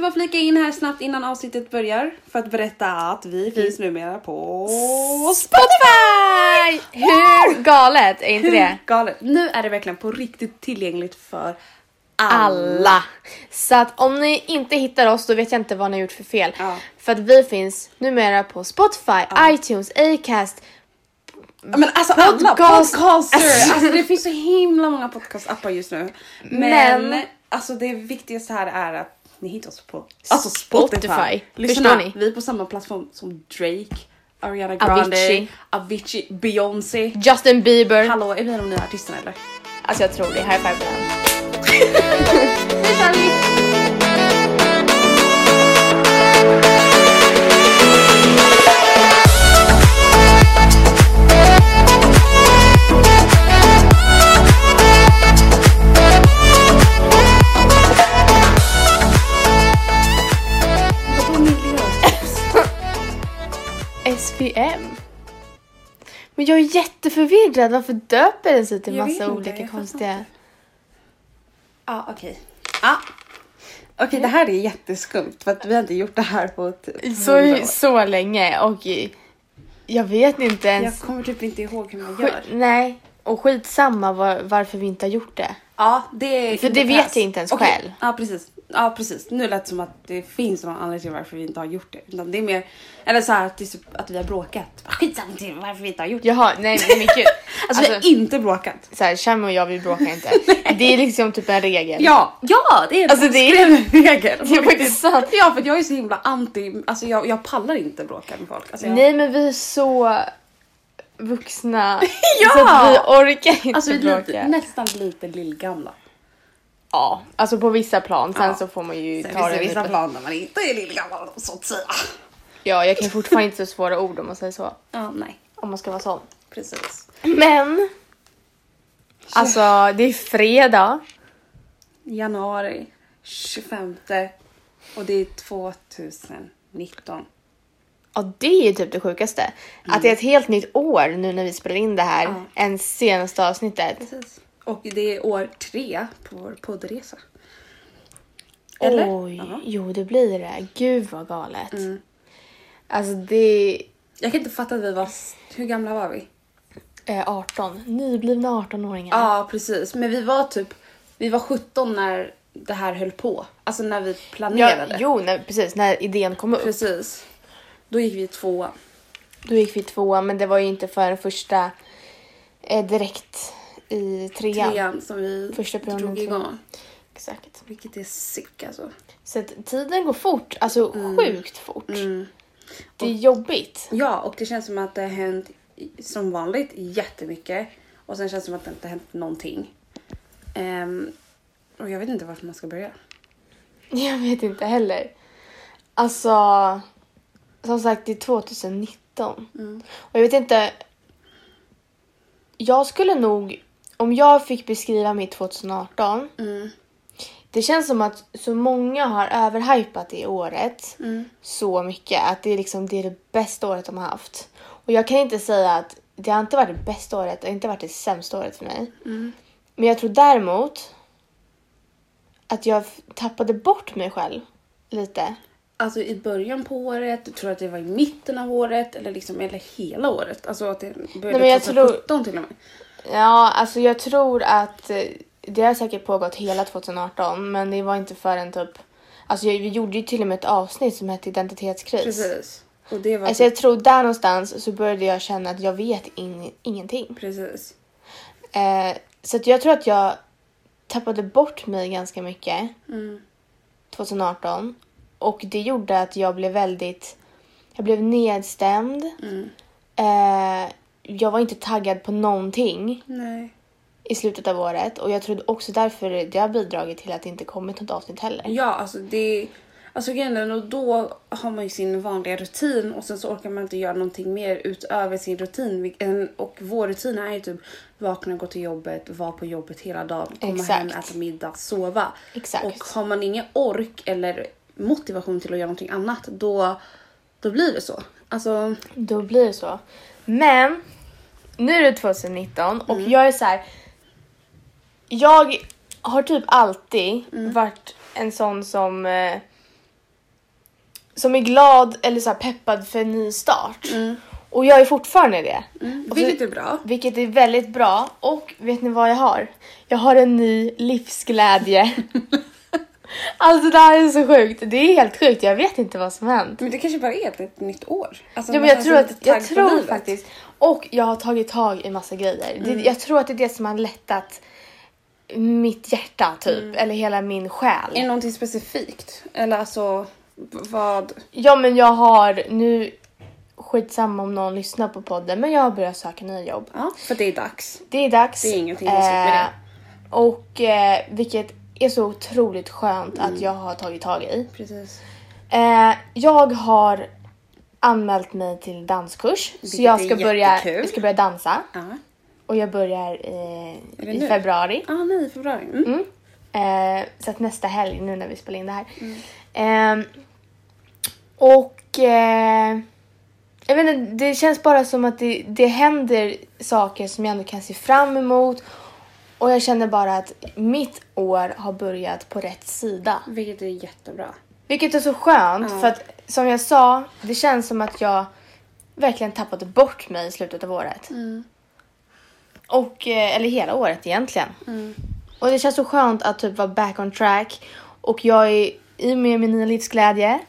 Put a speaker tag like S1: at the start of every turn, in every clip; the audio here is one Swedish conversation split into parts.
S1: bara flika in här snabbt innan avsnittet börjar för att berätta att vi finns numera på
S2: Spotify! Hur galet är inte det?
S1: Hur galet! Nu är det verkligen på riktigt tillgängligt för alla.
S2: alla. Så att om ni inte hittar oss då vet jag inte vad ni har gjort för fel.
S1: Ja.
S2: För att vi finns numera på Spotify, iTunes, Acast.
S1: Men alltså alla
S2: Podcast-
S1: podcaster! Alltså det finns så himla många podcastappar just nu. Men,
S2: Men-
S1: alltså det viktigaste här är att ni hittar oss på alltså Spotify.
S2: Spotify.
S1: Lyssna,
S2: Förstår ni?
S1: vi är på samma plattform som Drake, Ariana Grande, Avicii,
S2: Avicii.
S1: Beyoncé.
S2: Justin Bieber.
S1: Hallå, är vi de nya artisterna eller?
S2: Alltså jag tror det. High five på den.
S1: Nu kör vi!
S2: SVM. Men jag är jätteförvirrad. Varför döper den sig till
S1: Jag vet
S2: massa
S1: inte,
S2: olika
S1: jag fattar
S2: konstiga...
S1: Ja, okej. Ja. Okej, det här är jätteskumt för att vi har inte gjort det här på ett
S2: Så, så länge och jag vet inte
S1: Jag
S2: ens.
S1: kommer typ inte ihåg hur man
S2: Sk-
S1: gör.
S2: nej, och skitsamma var, varför vi inte har gjort det.
S1: Ja, det
S2: För det
S1: pass.
S2: vet jag inte ens
S1: Okej,
S2: själv.
S1: Ja precis. ja, precis. Nu lät det som att det finns någon anledning till varför vi inte har gjort det. Utan det är mer, eller så här, att, det är så- att vi har bråkat. Bara, Skitsamma till varför vi inte har gjort det.
S2: Jaha, nej men gud.
S1: Alltså,
S2: Alltså,
S1: vi har inte bråkat.
S2: så här, Shami och jag vi bråkar inte. det är liksom typ en regel.
S1: Ja, ja det är
S2: Alltså, det är-
S1: en regel.
S2: Det är faktiskt sant.
S1: Ja, för jag är så himla anti, alltså jag, jag pallar inte bråka med folk. Alltså, jag,
S2: Nej men vi är så vuxna
S1: Ja!
S2: så att vi orkar inte
S1: alltså vi är
S2: bråka.
S1: lite, nästan lite lillgamla.
S2: Ja, alltså på vissa plan. Sen
S1: Ja.
S2: så får man ju
S1: Sen
S2: ta
S1: finns
S2: det
S1: det vissa
S2: lite-
S1: plan där man inte är lillgammal så att säga.
S2: Ja, jag kan fortfarande inte så svåra ord om man säger så.
S1: Ja, nej,
S2: Om man ska vara sån.
S1: precis.
S2: Men. Alltså det är fredag.
S1: januari 25 och det är 2019.
S2: Ja, det är typ det sjukaste. Att det är ett helt nytt år nu när vi spelar in det här.
S1: Ja.
S2: Än senaste avsnittet.
S1: Precis. Och det är år tre på vår poddresa. Eller?
S2: Oj,
S1: Ja.
S2: jo det blir det. Gud vad galet.
S1: Mm.
S2: Alltså det
S1: Jag kan inte fatta att vi var... Hur gamla var vi?
S2: är eh, 18. Nyblivna 18-åringar.
S1: Ja, precis. Men vi var typ... Vi var 17 när det här höll på. Alltså när vi
S2: Ja,
S1: planerade.
S2: jo, när, precis. När idén kom upp.
S1: Precis. Då gick vi i tvåan.
S2: Då gick vi tvåa, men det var ju inte för första eh, direkt i trean.
S1: Trean som vi
S2: Första perioden,
S1: drog
S2: trean.
S1: igång.
S2: Exakt.
S1: Vilket är sick alltså.
S2: Så att tiden går fort, alltså
S1: Mm.
S2: sjukt fort. Det är jobbigt.
S1: Ja, och det känns som att det har hänt i- som vanligt jättemycket. Och sen känns det som att det inte har hänt någonting. Ehm, och jag vet inte varför man ska börja.
S2: Jag vet inte heller. Alltså, som sagt det är 2019. Och jag vet inte. Jag skulle nog, om jag fick beskriva mitt 2018. Det känns som att så många har överhypat det året så mycket att det är liksom det, är det bästa året de har haft. Och jag kan inte säga att det har inte varit det bästa året, det har inte varit det sämsta året för mig. Men jag tror däremot att jag f- tappade bort mig själv lite.
S1: Alltså i början på året, tror du att det var i mitten av året eller liksom eller hela året? Alltså att det började
S2: Nej, men jag
S1: 2017 till och med.
S2: Ja, alltså jag tror att eh, det har säkert pågått hela 2018 men det var inte förrän typ... Alltså jag- vi gjorde ju till och med ett avsnitt som hette identitetskris.
S1: Precis. Och det var
S2: Alltså jag tror där någonstans så började jag känna att jag vet in, ingenting.
S1: typ- precis.
S2: Eh, så att jag tror att jag tappade bort mig ganska mycket
S1: Mm,
S2: 2018. Och det gjorde att jag blev väldigt... Jag blev nedstämd.
S1: mm.
S2: Eh, jag var inte taggad på någonting
S1: Nej.
S2: i slutet av året. Och jag trodde också därför det har bidragit till att det inte kommit något avsnitt heller.
S1: Ja, alltså det... Alltså grejen är, och då har man ju sin vanliga rutin och sen så orkar man inte göra någonting mer utöver sin rutin. Vil- en- Och vår rutin är ju typ vakna, gå till jobbet, vara på jobbet hela dagen, komma hem,
S2: Exakt.
S1: äta middag, sova.
S2: Exakt.
S1: Och har man ingen ork eller motivation till att göra någonting annat då, då blir det så. Alltså,
S2: Då blir det så. Men nu är det 2019 och jag är så här. Jag har typ alltid varit en sån som eh, som är glad eller så här peppad för en ny start. Och jag är fortfarande det. Och så-
S1: Vilket är bra.
S2: Vilket är väldigt bra. Och vet ni vad jag har? Jag har en ny livsglädje. alltså det här är så sjukt. Det är helt sjukt. Jag vet inte vad som hänt.
S1: Men det kanske bara är ett, ett nytt år. Alltså,
S2: Ja, men
S1: man
S2: jag
S1: känns
S2: tror,
S1: lite
S2: att, jag
S1: taggad på
S2: tror
S1: livet.
S2: faktiskt... Och jag har tagit tag i massa grejer. Det, jag tror att det är det som har lättat mitt hjärta typ. Eller hela min själ.
S1: Är det någonting specifikt? Eller alltså vad?
S2: Ja men jag har nu... Skitsamma om någon lyssnar på podden men jag har börjat söka nya jobb.
S1: Ja, för det är dags.
S2: Det är dags.
S1: Det är ingenting konstigt med
S2: Eh, Och eh, vilket är så otroligt skönt
S1: Mm.
S2: att jag har tagit tag i.
S1: Precis.
S2: Eh, jag har anmält mig till danskurs. så jag
S1: är
S2: ska börja,
S1: jättekul.
S2: jag ska börja dansa.
S1: Ja.
S2: Och jag börjar eh,
S1: det
S2: i
S1: nu?
S2: februari.
S1: Ah, nej, i februari. Mm.
S2: Mm. Eh, så att nästa helg nu när vi spelar in det här. Eh, och eh, jag vet inte, det känns bara som att det, det händer saker som jag ändå kan se fram emot. Och jag känner bara att mitt år har börjat på rätt sida.
S1: Vilket är jättebra.
S2: Vilket är så skönt
S1: Ja.
S2: för att som jag sa, det känns som att jag verkligen tappade bort mig i slutet av året.
S1: Mm.
S2: Och, eh, eller hela året egentligen.
S1: Mm.
S2: Och det känns så skönt att typ vara back on track. Och jag är i och med min nya livsglädje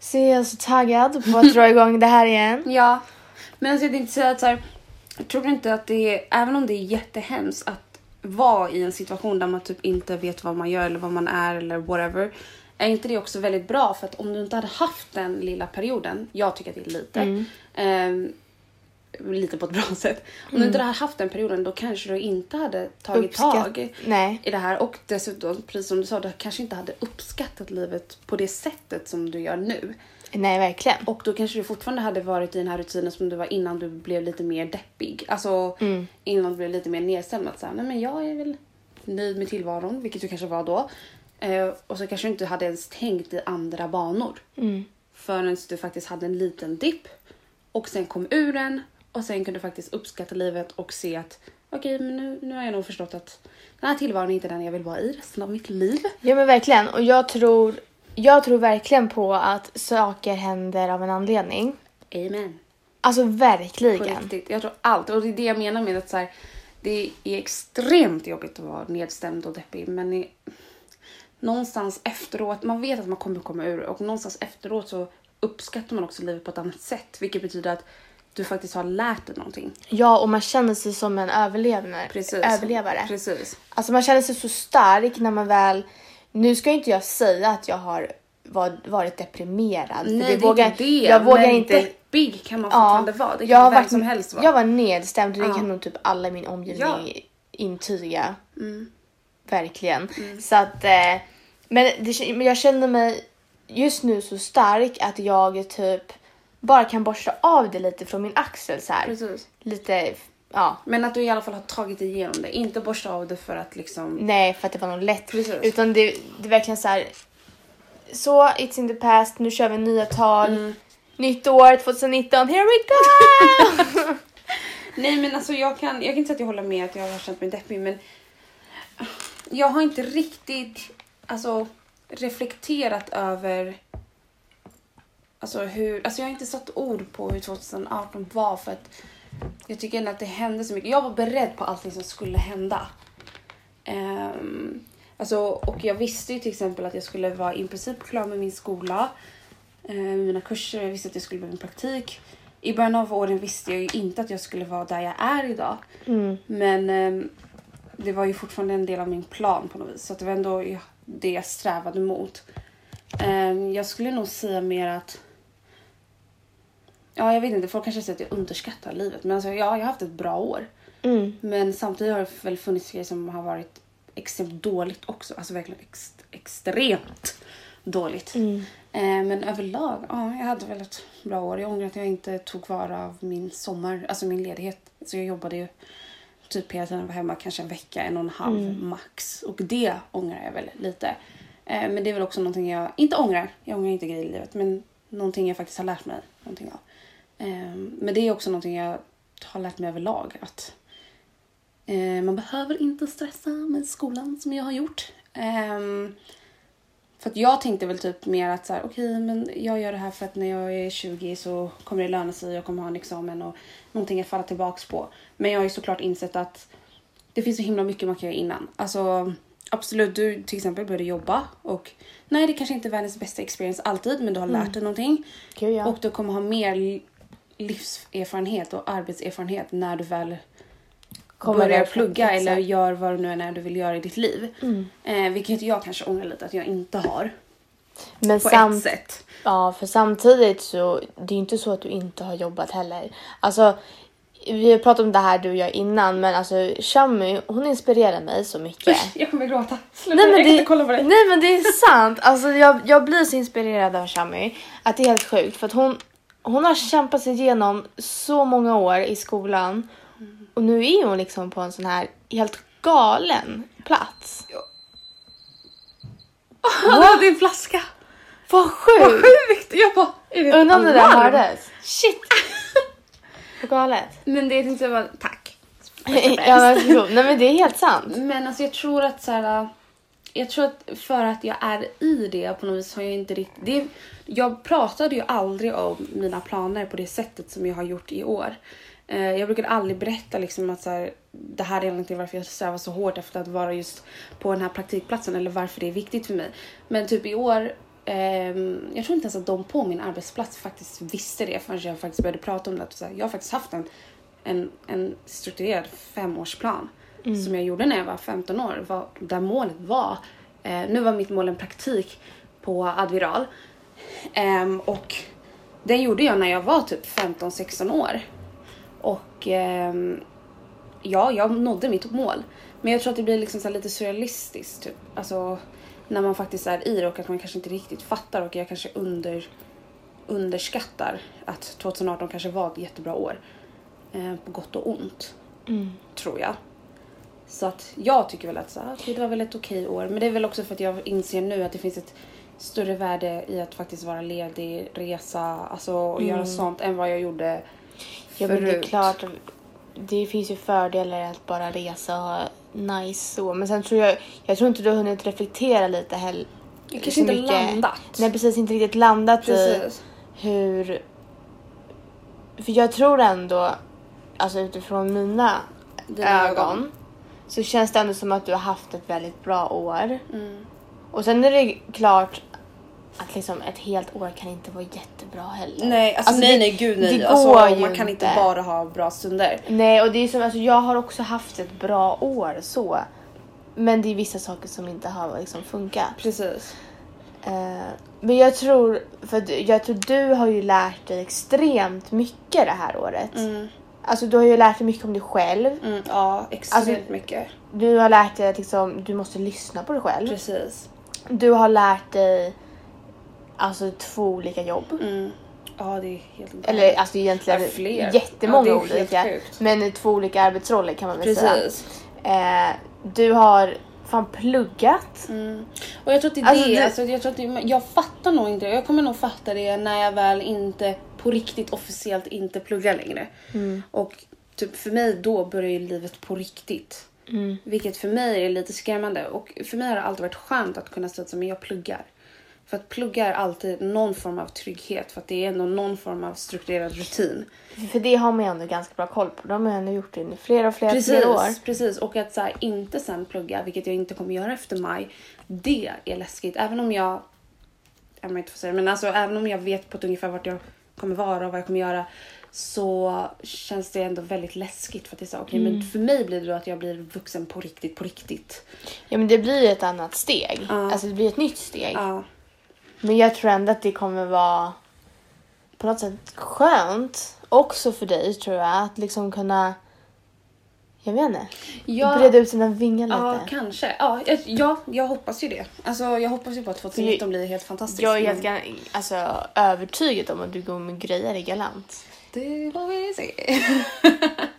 S2: så är jag så taggad på att dra igång det här igen.
S1: Ja, men alltså jag tänkte säga att så här, jag tror inte att det är, även om det är jättehemskt att vara i en situation där man typ inte vet vad man gör eller vad man är eller whatever. Är inte det också väldigt bra? För att om du inte hade haft den lilla perioden, jag tycker att det är lite,
S2: Mm.
S1: ehm, lite på ett bra sätt. Om du inte hade haft den perioden då kanske du inte hade tagit tag
S2: Uppskatt- nej.
S1: i det här och dessutom, precis som du sa, du kanske inte hade uppskattat livet på det sättet som du gör nu.
S2: Nej, verkligen.
S1: Och då kanske du fortfarande hade varit i den här rutinen som du var innan du blev lite mer deppig. Alltså
S2: Mm.
S1: innan du blev lite mer nedstämd. Att så här, nej men jag är väl nöjd med tillvaron, vilket du kanske var då. Eh, och så kanske du inte hade ens tänkt i andra banor. Mm. Förrän du faktiskt hade en liten dipp och sen kom ur den och sen kunde du faktiskt uppskatta livet och se att okej, men nu, nu har jag nog förstått att den här tillvaron är inte den jag vill vara i resten av mitt liv.
S2: Ja men verkligen. Och jag tror, jag tror verkligen på att saker händer av en anledning.
S1: Amen.
S2: Alltså
S1: På
S2: verkligen.
S1: riktigt. Jag tror allt. Och det är det jag menar med att så här, det är extremt jobbigt att vara nedstämd och deppig. Men i, någonstans efteråt, man vet att man kommer komma ur det, och någonstans efteråt så uppskattar man också livet på ett annat sätt. Vilket betyder att du faktiskt har lärt dig någonting.
S2: Ja, och man känner sig som en överlevare.
S1: Precis.
S2: överlevare.
S1: Precis.
S2: Alltså man känner sig så stark när man väl... Nu ska ju inte jag säga att jag har var- varit deprimerad. för
S1: Nej,
S2: det
S1: det
S2: vågar,
S1: är inte det.
S2: Jag vågar
S1: men
S2: inte...
S1: deppig kan man
S2: Ja,
S1: fortfarande vara. Det kan
S2: jag har
S1: vem
S2: varit-
S1: som helst vara.
S2: Jag var nedstämd och det
S1: Ja.
S2: kan nog typ alla i min omgivning
S1: Ja. Mm.
S2: intyga. Verkligen. Så att... Eh, men, det, men jag känner mig just nu så stark att jag typ bara kan borsta av det lite från min axel så här.
S1: Precis.
S2: Lite... Ja.
S1: Men att du i alla fall har tagit dig igenom det. Inte borsta av det för att liksom...
S2: Nej, för att det var något lätt.
S1: Precis.
S2: Utan det, det är verkligen så här. Så, it's in the past, nu kör vi nya tag.
S1: Mm.
S2: Nytt år 2019, here we go!
S1: Nej men alltså jag kan, jag kan inte säga att jag håller med att jag har känt mig deppig men ah, jag har inte riktigt alltså, reflekterat över alltså, hur, alltså jag har inte satt ord på hur 2018 var för att jag tycker ändå att det hände så mycket. Jag var beredd på allting som skulle hända. Um, alltså, och jag visste ju till exempel att jag skulle vara i princip klar med min skola, eh, med mina kurser, jag visste att jag skulle börja min praktik. I början av åren visste jag ju inte att jag skulle vara där jag är idag.
S2: Mm,
S1: Men ehm, det var ju fortfarande en del av min plan på något vis. Så att det var ändå ju det jag strävade mot. Ehm, jag skulle nog säga mer att... Ja, jag vet inte. Folk kanske säger att jag underskattar livet. Men alltså, ja, jag har haft ett bra år.
S2: Mm.
S1: Men samtidigt har det väl funnits grejer som har varit extremt dåligt också. Alltså verkligen ex- extremt dåligt.
S2: mm.
S1: Eh, men överlag, ja, jag hade väl ett bra år. Jag ångrar att jag inte tog vara av min sommar, alltså min ledighet. Så jag jobbade ju typ hela tiden, var hemma kanske en vecka, en och en halv max. Och det ångrar jag väl lite. Eh, men det är väl också någonting jag, inte ångrar, jag ångrar inte grejer i livet, men någonting jag faktiskt har lärt mig någonting av. Eh, men det är också någonting jag har lärt mig överlag. Att eh, man behöver inte stressa med skolan som jag har gjort. Ehm, För att jag tänkte väl typ mer att så här, okej, men jag gör det här för att när jag är 20 så kommer det löna sig, jag kommer ha en examen och någonting att falla tillbaks på. Men jag har ju såklart insett att det finns så himla mycket man kan göra innan. Alltså absolut, du till exempel började jobba och nej, det kanske inte är världens bästa experience alltid, men du har lärt dig någonting.
S2: Gud, Mm. ja.
S1: Och du kommer ha mer livserfarenhet och arbetserfarenhet när du väl
S2: Kommer
S1: börjar
S2: det-
S1: plugga
S2: exakt. Mm.
S1: eller gör vad det nu än är du vill göra i ditt liv. Eh, vilket jag kanske ångrar lite att jag inte har.
S2: Men
S1: På
S2: samt,
S1: ett sätt.
S2: Ja, för samtidigt så det är ju inte så att du inte har jobbat heller. Alltså, vi har pratat om det här du och jag innan, men alltså Shami, hon inspirerar mig så mycket.
S1: Jag kommer gråta. Sluta,
S2: Nej men,
S1: jag kan inte
S2: det,
S1: kolla på dig.
S2: nej men det är sant. Alltså jag, jag blir så inspirerad av Shami att det är helt sjukt för att hon, hon har kämpat sig igenom så många år i skolan och nu är hon liksom på en sån här helt galen plats.
S1: Åh, det är en flaska.
S2: Vad
S1: Vad
S2: sjukt!
S1: sjukt! Jag bara, är det
S2: Undrar om det där
S1: alarm?
S2: hördes. Shit! Vad galet.
S1: Men det är inte bara, tack.
S2: ja, varsågod. Nej men det är helt sant.
S1: Men alltså jag tror att så här, jag tror att för att jag är i det på något vis har jag inte riktigt... Det, jag pratade ju aldrig om mina planer på det sättet som jag har gjort i år. Eh, Jag brukade aldrig berätta liksom att så här, det här är anledningen till varför jag strävar så hårt efter att vara just på den här praktikplatsen eller varför det är viktigt för mig. Men typ i år, ehm, jag tror inte ens att de på min arbetsplats faktiskt visste det förrän jag faktiskt började prata om det. Att så här, jag har faktiskt haft en, en, en strukturerad femårsplan som jag gjorde när jag var 15 år, var, där målet var... Eh, nu var mitt mål en praktik på Adviral. Ehm, och den gjorde jag när jag var typ 15-16 år. Och ehm, ja, jag nådde mitt mål. Men jag tror att det blir liksom så här lite surrealistiskt. Typ. Alltså, när man faktiskt är i det och att man kanske inte riktigt fattar och jag kanske under, underskattar att 2018 kanske var ett jättebra år. Eh, på gott och ont. Tror jag. Så att jag tycker väl att så här, okej, det var väl ett okej år. Men det är väl också för att jag inser nu att det finns ett större värde i att faktiskt vara ledig, resa, alltså och göra sånt än vad jag gjorde
S2: Ja, men det är
S1: förut.
S2: klart. Det finns ju fördelar i att bara resa och ha nice så. Men sen tror jag, jag tror inte du har hunnit reflektera lite heller.
S1: Jag kanske inte landat.
S2: Nej precis, inte riktigt landat
S1: Precis.
S2: i hur... För jag tror ändå, alltså utifrån mina
S1: Dina
S2: ögon,
S1: ögon.
S2: så känns det ändå som att du har haft ett väldigt bra år.
S1: Mm.
S2: Och sen är det klart att liksom ett helt år kan inte vara jättebra heller.
S1: Nej, alltså, nej,
S2: det-
S1: nej, gud nej.
S2: Det
S1: alltså,
S2: går
S1: man
S2: ju
S1: kan inte bara ha bra stunder.
S2: Nej, och det är som, alltså, jag har också haft ett bra år så. Men det är vissa saker som inte har liksom, funkat.
S1: Precis.
S2: Eh, men jag tror, för att jag tror du har ju lärt dig extremt mycket det här året. Alltså du har ju lärt dig mycket om dig själv.
S1: Mm, ja, extremt
S2: Alltså-
S1: mycket.
S2: Du har lärt dig att liksom, du måste lyssna på dig själv.
S1: Precis.
S2: Du har lärt dig alltså två olika jobb.
S1: Mm. Ja, det är helt
S2: Eller alltså egentligen
S1: Ja, fler.
S2: jättemånga
S1: Ja, det är helt
S2: olika.
S1: sjukt.
S2: Men i två olika arbetsroller kan man väl säga.
S1: Precis.
S2: Eh, du har fan pluggat.
S1: Mm. Och jag tror att det är
S2: Alltså,
S1: det.
S2: det-
S1: Alltså, jag, tror att det, men jag fattar nog inte det. Jag kommer nog fatta det när jag väl inte på riktigt officiellt inte pluggar längre. Och typ för mig då börjar ju livet på riktigt. Vilket för mig är lite skrämmande. Och för mig har det alltid varit skönt att kunna säga att men jag pluggar. För att plugga är alltid någon form av trygghet. För att det är ändå någon form av strukturerad rutin.
S2: För det har man ju ändå ganska bra koll på. De har ju ändå gjort det i flera och flera,
S1: Precis,
S2: flera år.
S1: precis. Och att så här, inte sen plugga, vilket jag inte kommer göra efter maj, det är läskigt. Även om jag, jag inte får säga det, men alltså även om jag vet på ett ungefär vart jag kommer vara och vad jag kommer göra så känns det ändå väldigt läskigt för att det är så här, okej
S2: Mm.
S1: men för mig blir det då att jag blir vuxen på riktigt, på riktigt.
S2: Ja men det blir ju ett annat steg. Alltså det blir ett nytt steg.
S1: Ja,
S2: Men jag tror ändå att det kommer vara på något sätt skönt också för dig tror jag. Att liksom kunna, jag vet inte,
S1: Ja.
S2: breda ut sina vingar
S1: ja
S2: lite.
S1: kanske. Ja, jag, ja, jag hoppas ju det. Alltså jag hoppas ju på att 2019 blir helt fantastiskt. Mm.
S2: Jag är
S1: men
S2: helt gan- alltså, övertygad om att du kommer greja dig galant.
S1: Det får vi se.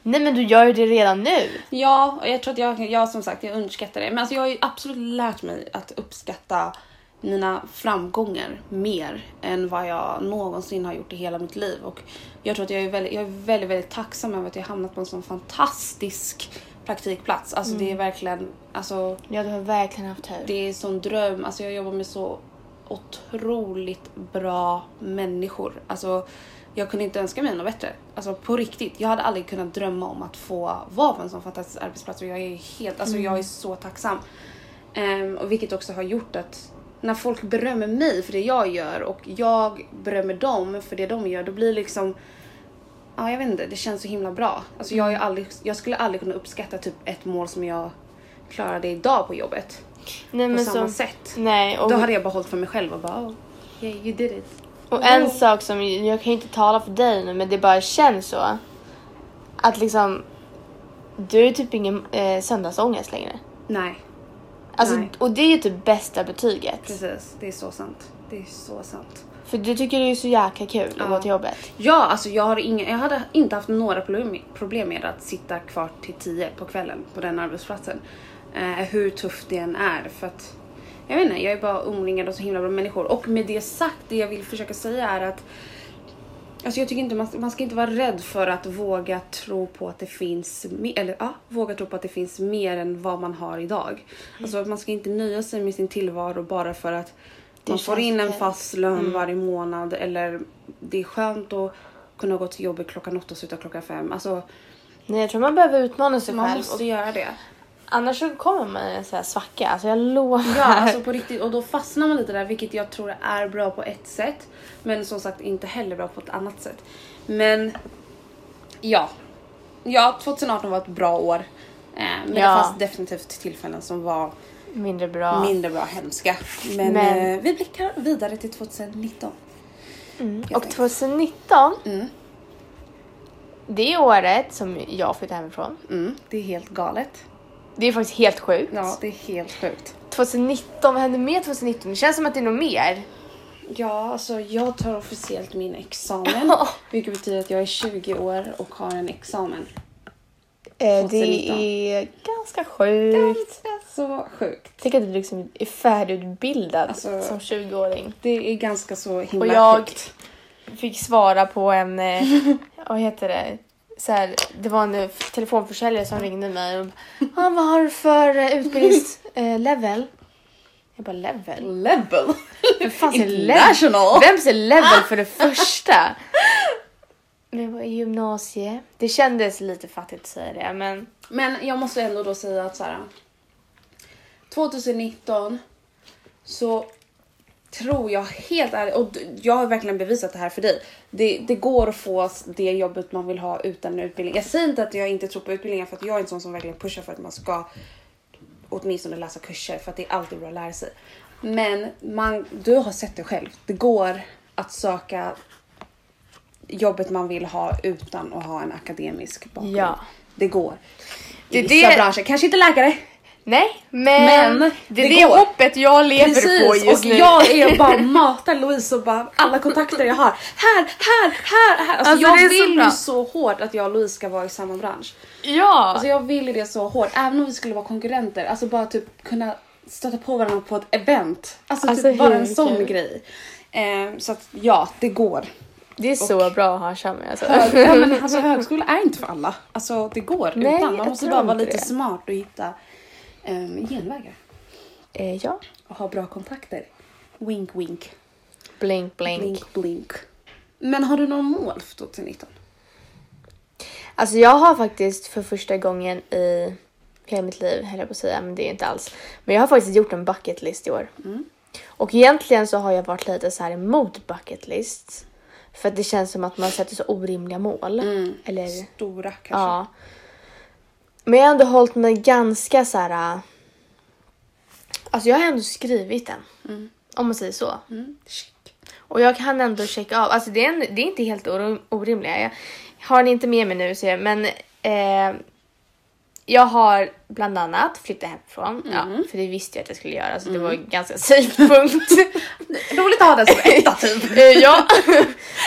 S2: Nej men du gör ju det redan nu.
S1: Ja, och jag tror att jag, jag som sagt, jag underskattar det. Men alltså jag har ju absolut lärt mig att uppskatta mina framgångar mer än vad jag någonsin har gjort i hela mitt liv. Och jag tror att jag är väldigt, jag är väldigt, väldigt tacksam över att jag hamnat på en sån fantastisk praktikplats. Alltså det är verkligen, alltså
S2: Ja du har verkligen haft tur.
S1: det är en sån dröm. Alltså jag jobbar med så otroligt bra människor. Alltså, jag kunde inte önska mig något bättre. Alltså på riktigt. Jag hade aldrig kunnat drömma om att få vara på en sån fantastisk arbetsplats och jag är helt, alltså jag är så tacksam. Ehm, och vilket också har gjort att när folk berömmer mig för det jag gör och jag berömmer dem för det de gör, då blir det liksom Ja, jag vet inte. Det känns så himla bra. Alltså, jag, är ju aldrig, jag skulle aldrig kunna uppskatta typ ett mål som jag klarade idag på jobbet.
S2: Nej,
S1: På
S2: men
S1: samma
S2: så,
S1: sätt.
S2: Nej, och,
S1: Då hade jag bara hållit för mig själv och bara oh, Mm. yeah, you did it.
S2: och en sak som, jag kan ju inte tala för dig nu, men det bara känns så. Att liksom, du är typ ingen eh, söndagsångest längre.
S1: Nej,
S2: Alltså,
S1: Nej.
S2: och det är ju typ bästa betyget.
S1: precis. Det är så sant. Det är så sant.
S2: För du tycker det är så jäkla kul att gå till jobbet.
S1: Ja, alltså jag, har inga, jag hade inte haft några problem, problem med att sitta kvar till 10 på kvällen på den arbetsplatsen. Eh, hur tufft det än är. För att, jag vet inte, jag är bara omringad av så himla bra människor. Och med det sagt, det jag vill försöka säga är att Alltså jag tycker inte man, man ska inte vara rädd för att våga tro på att det finns mer, eller ja, våga tro på att det finns mer än vad man har idag.
S2: Mm.
S1: Alltså att man ska inte nöja sig med sin tillvaro bara för att man får
S2: känns
S1: in en
S2: okej.
S1: fast lön
S2: Mm.
S1: varje månad eller det är skönt att kunna gå till jobbet klockan åtta och sluta klockan fem. Alltså
S2: Nej, jag tror man behöver utmana sig
S1: man
S2: själv.
S1: måste
S2: Och
S1: göra det.
S2: annars så kommer man i en sån här svacka. Alltså jag lovar.
S1: Ja, alltså på riktigt. Och då fastnar man lite där, vilket jag tror är bra på ett sätt. Men som sagt inte heller bra på ett annat sätt. Men ja. Ja, 2018 var ett bra år. Eh, Men
S2: Ja.
S1: det fanns definitivt tillfällen som var
S2: Mindre bra.
S1: mindre bra, hemska. Men,
S2: Men-
S1: Eh, vi blickar vidare till 2019.
S2: och 2019.
S1: Mm.
S2: Det är året som jag flyttade hemifrån.
S1: Mm, det är helt galet.
S2: Det är faktiskt helt sjukt.
S1: Ja, det är helt sjukt.
S2: 2019, vad hände mer 2019? Det känns som att det är något mer.
S1: Ja, alltså jag tar officiellt min examen. vilket betyder att jag är 20 år och har en examen.
S2: Eh, det
S1: 2019.
S2: är ganska sjukt.
S1: Ganska så sjukt.
S2: Tänk att du liksom är färdigutbildad
S1: Alltså-
S2: som 20-åring.
S1: Det är ganska så himla
S2: Och jag-
S1: sjukt.
S2: fick svara på en, eh, vad heter det, så här, det var en eh, telefonförsäljare som ringde mig och bara, ah, vad har du för utbildningslevel? eh, Jag bara level?
S1: Level!
S2: Vem fan säger level?
S1: International!
S2: Vem säger level för det första? Men jag var i gymnasie. Det kändes lite fattigt att säga det men
S1: Men jag måste ändå då säga att så här. 2019 så tror jag helt ärligt, och d- jag har verkligen bevisat det här för dig. Det, det går att få s- det jobbet man vill ha utan en utbildning. Jag säger inte att jag inte tror på utbildningar för att jag är en sån som verkligen pushar för att man ska åtminstone läsa kurser för att det är alltid bra att lära sig. Men man, du har sett det själv. Det går att söka jobbet man vill ha utan att ha en akademisk bakgrund.
S2: Ja.
S1: Det går.
S2: Det
S1: I
S2: är
S1: vissa
S2: det-
S1: branscher, kanske inte läkare.
S2: nej. Men,
S1: Men
S2: det
S1: det
S2: är det
S1: går.
S2: hoppet jag lever på
S1: Precis,
S2: just
S1: och
S2: nu.
S1: jag är bara matar Louise och bara alla kontakter jag har. Här, här, här, här. Alltså,
S2: Alltså, det är
S1: jag
S2: så
S1: vill
S2: bra.
S1: ju så hårt att jag och Louise ska vara i samma bransch.
S2: Ja!
S1: Alltså jag vill ju det så hårt, även om vi skulle vara konkurrenter. Alltså bara typ kunna stöta på varandra på ett event. Alltså,
S2: Alltså,
S1: typ bara
S2: hur
S1: en sån
S2: kul.
S1: grej. Ehm, så att ja, det går.
S2: det är så bra att ha en Shami alltså.
S1: Ja, men alltså, högskola är inte för alla. Alltså det går.
S2: Nej,
S1: utan man
S2: jag
S1: måste
S2: tror
S1: bara vara
S2: inte
S1: lite
S2: det.
S1: smart och hitta um, genvägar.
S2: Eh, ja.
S1: Och ha bra kontakter. Wink wink.
S2: Blink, blink.
S1: Blink blink. Men har du någon mål för 2019?
S2: Alltså jag har faktiskt för första gången i hela mitt liv, höll jag på att säga, men det är inte alls. Men jag har faktiskt gjort en bucket list i år. Och egentligen så har jag varit lite så här emot bucket list. För att det känns som att man sätter så orimliga mål. Eller,
S1: Stora kanske?
S2: ja. Men jag har ändå hållit mig ganska så här. äh, Alltså jag har ändå skrivit den. Om man säger så.
S1: Mm, check.
S2: Och jag kan ändå checka av. Alltså det är, en, det är inte helt or- orimliga. Jag har ni inte med mig nu så jag, men eh, jag har bland annat flyttat hemifrån. Ja, för det visste jag att jag skulle göra så det var ju ganska synpunkt.
S1: Roligt att ha den som etta typ.
S2: eh, ja,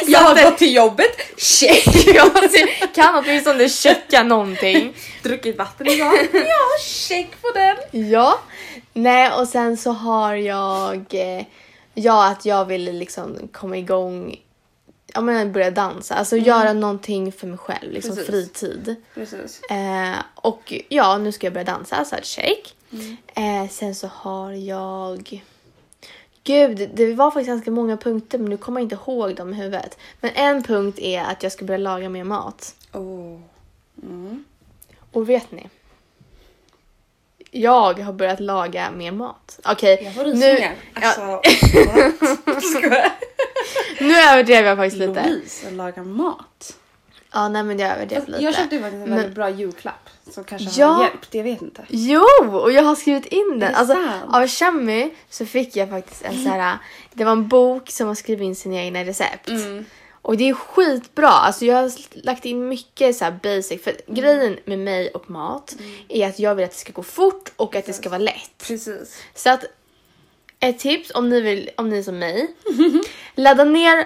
S1: Jag har gått till jobbet, check.
S2: alltså, jag ser- kan åtminstone checka någonting.
S1: Druckit vatten idag, ja check på den.
S2: Ja, nej och sen så har jag, eh, ja att jag vill liksom komma igång, ja men börja dansa, alltså göra någonting för mig själv, liksom
S1: Precis.
S2: fritid.
S1: Precis.
S2: Eh, och ja, nu ska jag börja dansa så här shake. Eh, sen så har jag... Gud, det var faktiskt ganska många punkter men nu kommer jag inte ihåg dem i huvudet. Men en punkt är att jag ska börja laga mer mat.
S1: Oh. Mm.
S2: Och vet ni? Jag har börjat laga mer mat. Okej,
S1: Jag får
S2: nu,
S1: rysningar. Alltså,
S2: ja.
S1: what? Skojar.
S2: nu överdrev jag faktiskt lite.
S1: Louise lagar mat.
S2: Ja, nej men jag överdrev lite.
S1: Jag köpte ju faktiskt en
S2: Men-
S1: väldigt bra julklapp som kanske
S2: Ja.
S1: har hjälpt, jag vet inte.
S2: Jo! Och jag har skrivit in den.
S1: det
S2: Alltså,
S1: sant?
S2: av Shami så fick jag faktiskt en så här. Det var en bok som har skrivit in sina egna recept.
S1: Mm.
S2: Och det är skitbra. Alltså jag har lagt in mycket så här basic. För
S1: Mm.
S2: grejen med mig och mat är att jag vill att det ska gå fort och att det ska vara lätt.
S1: Precis.
S2: Så att ett tips om ni, vill, om ni är som mig. ladda ner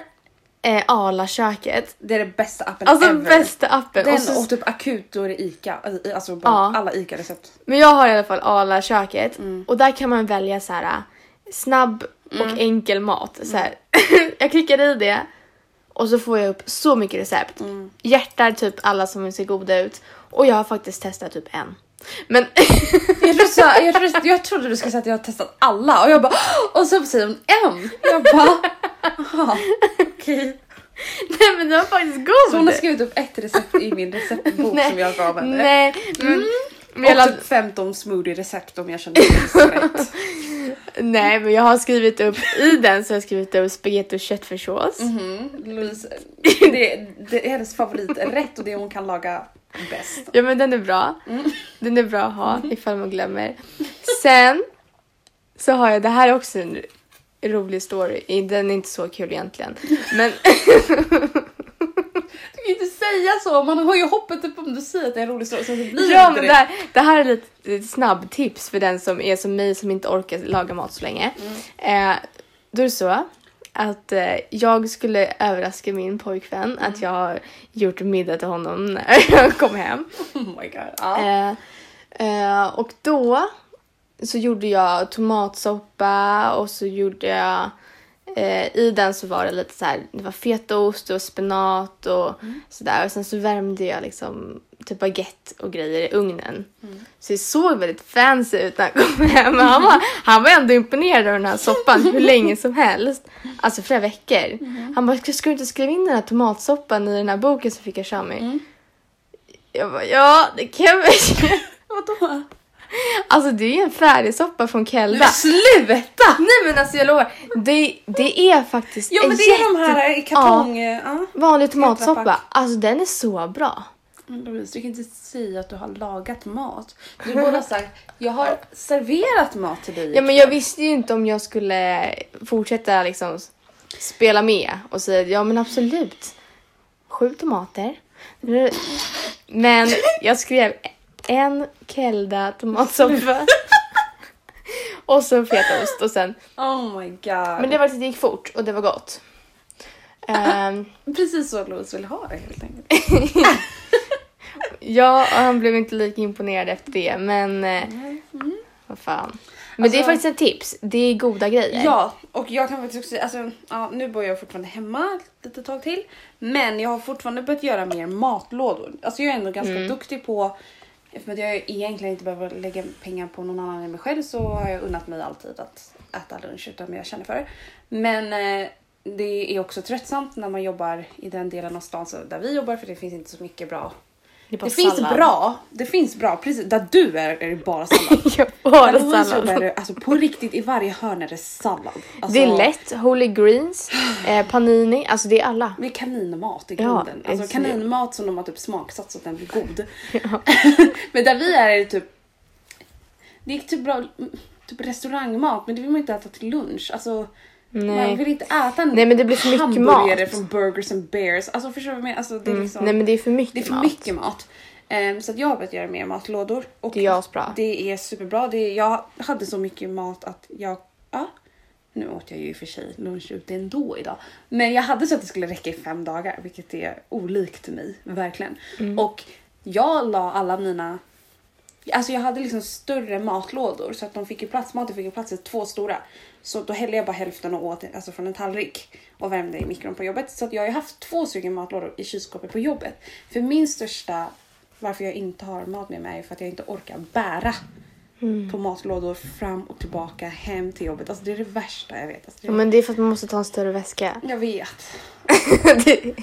S2: eh, Arla-köket.
S1: Det är den bästa appen
S2: Alltså
S1: ever.
S2: bästa appen.
S1: Den
S2: och
S1: och,
S2: så
S1: typ akut, då är det ICA. Alltså, i- Alltså bara
S2: Ja.
S1: alla ICA-recept.
S2: Men jag har i alla fall Arla köket
S1: Mm.
S2: och där kan man välja så här äh, snabb och enkel mat. Så här.
S1: Mm.
S2: jag klickar i det och så får jag upp så mycket recept.
S1: Mm.
S2: Hjärtar typ alla som ser goda ut och jag har faktiskt testat typ en. Men
S1: Jag trodde, så, jag, trodde, jag trodde du skulle säga att jag har testat alla och jag bara och så säger hon en. Jag bara jaha okej.
S2: nej men den var faktiskt
S1: Så
S2: god.
S1: hon har skrivit upp ett recept i min receptbok som jag gav henne.
S2: Nej, men, men jag
S1: Mm. Och
S2: ladd-
S1: typ 15 smoothie-recept om jag känner mig rätt.
S2: nej men jag har skrivit upp i den så har jag skrivit upp spagetti och köttfärssås.
S1: Mm, Louise, det, det är hennes favoriträtt och det hon kan laga bäst.
S2: Ja men den är bra. Den är bra att ha ifall man glömmer. Sen så har jag, det här är också en rolig story. Den är inte så kul egentligen. Men
S1: Du kan ju inte säga så, man har ju hoppet upp om du säger att det är en rolig story så det blir
S2: ja,
S1: inte
S2: men det,
S1: det.
S2: här, det här är lite, lite snabbtips för den som är som mig som inte orkar laga mat så länge. Eh, då är det så att eh, jag skulle överraska min pojkvän att jag har gjort middag till honom när jag kom hem.
S1: Oh my god. Ja.
S2: Eh, eh, och då så gjorde jag tomatsoppa och så gjorde jag eh, i den så var det lite så här, det var fetaost och spenat och sådär. Och sen så värmde jag liksom typ baguette och grejer i ugnen. Så det såg väldigt fancy ut när han kom hem. Men han var, han var ändå imponerad av den här soppan hur länge som helst. Alltså flera veckor. Han bara, ska du inte skriva in den här tomatsoppan i den här boken som fick jag Shami? Jag bara, ja det kan jag väl
S1: Vadå?
S2: Alltså det är ju en färdig soppa från Kelda.
S1: Sluta!
S2: Nej men alltså jag lovar, det, det är faktiskt
S1: Ja
S2: en
S1: men det är de
S2: jätte-
S1: här eh, i kartong... Ja.
S2: vanlig tomatsoppa.
S1: Tetrapack.
S2: Alltså den är så bra.
S1: Men Louise, du kan inte säga att du har lagat mat. Du borde ha sagt jag har serverat mat till dig.
S2: Ja men jag visste ju inte om jag skulle fortsätta liksom s- spela med och säga ja men absolut. Sju tomater. Men jag skrev en Kelda tomatsoppa. Och så fetaost och sen
S1: Oh my god.
S2: Men det, var, det gick fort och det var gott. Ehm,
S1: Precis så Louise vill ha det helt enkelt.
S2: ja, och han blev inte lika imponerad efter det, men eh, vad fan. Men det är
S1: Mm. Alltså-
S2: faktiskt ett tips. Det är goda grejer.
S1: Ja, och jag kan faktiskt också säga, alltså, ja, nu bor jag fortfarande hemma ett litet tag till. Men jag har fortfarande börjat göra mer matlådor. Alltså jag är ändå ganska duktig på, eftersom att jag egentligen inte behöver lägga pengar på någon annan än mig själv så har jag unnat mig alltid att äta lunch utan jag känner för det. Men eh, det är också tröttsamt när man jobbar i den delen av stan så- där vi jobbar för det finns inte så mycket bra.
S2: det är bara
S1: Det finns
S2: sallad.
S1: bra, det finns bra, precis där du är är det bara sallad.
S2: Ja, bara
S1: Men Louise jobbar
S2: sallad.
S1: ju- Alltså på riktigt, i varje hörn är det sallad. Alltså,
S2: Det är lätt. Holy greens, eh, panini, alltså det är alla.
S1: Med kaninmat i
S2: Ja,
S1: grunden.
S2: det är
S1: alltså
S2: så-
S1: kaninmat som de har typ smaksatt så att den blir god. men där vi är är det typ... Det är typ bra typ restaurangmat men det vill man inte äta till lunch. Alltså,
S2: Nej.
S1: Man vill inte äta en
S2: Nej, men det blir för mycket
S1: hamburgare
S2: mat.
S1: från Burgers and Bears. Alltså förstår du vad jag menar? Alltså, det är liksom...
S2: Mm. Nej men det är för mycket
S1: Det är för
S2: mat.
S1: mycket mat. Ehm, så att jag har börjat göra mer matlådor. Och
S2: Det är asbra.
S1: Det är superbra. Det är, jag hade så mycket mat att jag... Ja, nu åt jag ju i och för sig lunch ute ändå idag. Men jag hade så att det skulle räcka i fem dagar, vilket är olikt mig. Verkligen.
S2: Mm.
S1: Och jag la alla mina... Alltså jag hade liksom större matlådor så att de fick ju plats. Maten fick ju plats i två stora. Så då hällde jag bara hälften och åt alltså från en tallrik och värmde i mikron på jobbet. Så att jag har ju haft två stycken matlådor i kylskåpet på jobbet. För min största varför jag inte har mat med mig är för att jag inte orkar bära
S2: Mm.
S1: på matlådor fram och tillbaka hem till jobbet. Alltså det är det värsta jag vet. Alltså, det är...
S2: Ja, men det är för att man måste ta en större väska.
S1: Jag vet.
S2: Det-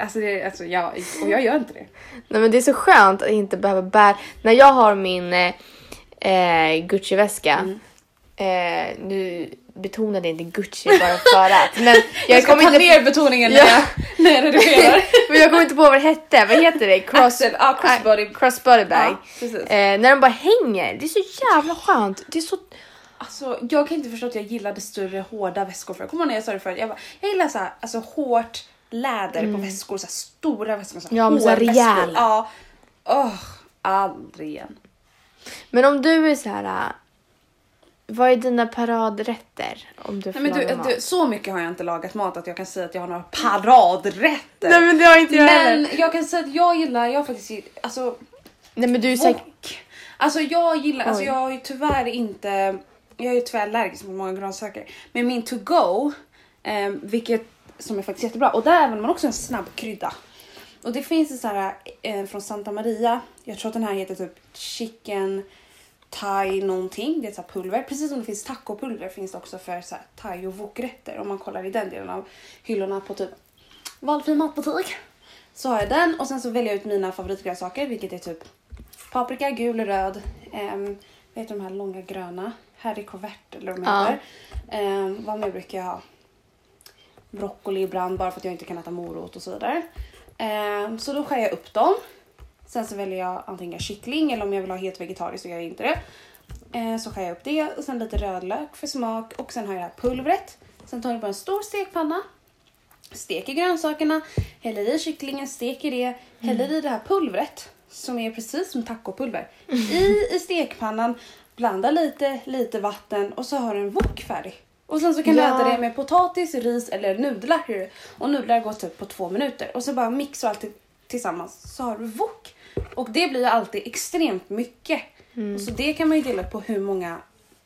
S1: Alltså, det, alltså jag, och jag gör inte det.
S2: Nej men det är så skönt att inte behöva bära. När jag har min eh, eh, Gucci-väska.
S1: Mm.
S2: Eh, nu betonade jag inte Gucci bara för att. Men jag,
S1: Jag,
S2: kommer
S1: kommer ta
S2: inte,
S1: ner betoningen när,
S2: Ja.
S1: jag, när jag redigerar.
S2: men jag kommer inte på vad det hette. Vad heter det? Cross,
S1: Axel, ja, crossbody.
S2: eh, crossbody bag.
S1: Ja, precis.
S2: eh, när de bara hänger. Det är så jävla skönt. Det är så...
S1: Alltså, jag kan inte förstå att jag gillade större hårda väskor förr. Kommer du ihåg när jag sa det förut? Jag, bara, jag gillar så här, alltså, hårt läder på väskor, så här, stora väskor. Så här,
S2: Mm. Ja, men så här
S1: hårväskor.
S2: rejäla.
S1: Ja. Åh, aldrig igen.
S2: Men om du är så här. eh, Vad är dina paradrätter? Om du får
S1: Nej, men
S2: laga mat?
S1: du, du, så mycket har jag inte lagat mat att jag kan säga att jag har några paradrätter.
S2: Nej men det har inte jag
S1: men
S2: heller.
S1: jag kan säga att jag gillar, jag har faktiskt gill- alltså
S2: Nej men du är säkert...
S1: Och, alltså jag gillar, alltså
S2: Oj.
S1: jag har ju tyvärr inte, jag är ju tyvärr allergisk mot många grönsaker. Men min to go, eh, vilket som är faktiskt jättebra och där använder man också en snabb krydda. Och det finns en så här eh, från Santa Maria, jag tror att den här heter typ chicken thai någonting, det är så här pulver. Precis som det finns tacopulver finns det också för så här thai och wokrätter om man kollar i den delen av hyllorna på typ valfri matbutik. Så har jag den och sen så väljer jag ut mina favoritgrönsaker vilket är typ paprika, gul och röd. Um, vet du de här långa gröna? Harry Covert eller vad de
S2: Ja.
S1: heter. Ehm, vad mer brukar jag ha? Broccoli ibland bara för att jag inte kan äta morot och så vidare. Ehm, så då skär jag upp dem. Sen så väljer jag antingen kyckling eller om jag vill ha helt vegetariskt så gör jag inte det. Eh, så skär jag upp det och sen lite rödlök för smak och sen har jag det här pulvret. Sen tar jag på en stor stekpanna steker grönsakerna, häller i kycklingen, steker det, häller i det här pulvret som är precis som tacopulver i, i stekpannan, blanda lite, lite vatten och så har du en wok färdig. Och sen så kan
S2: Ja.
S1: du äta det med potatis, ris eller nudlar. Och nudlar går typ på två minuter och så bara mixa allt till- tillsammans så har du wok. Och det blir alltid extremt mycket.
S2: Mm.
S1: Och så det kan man ju dela på hur många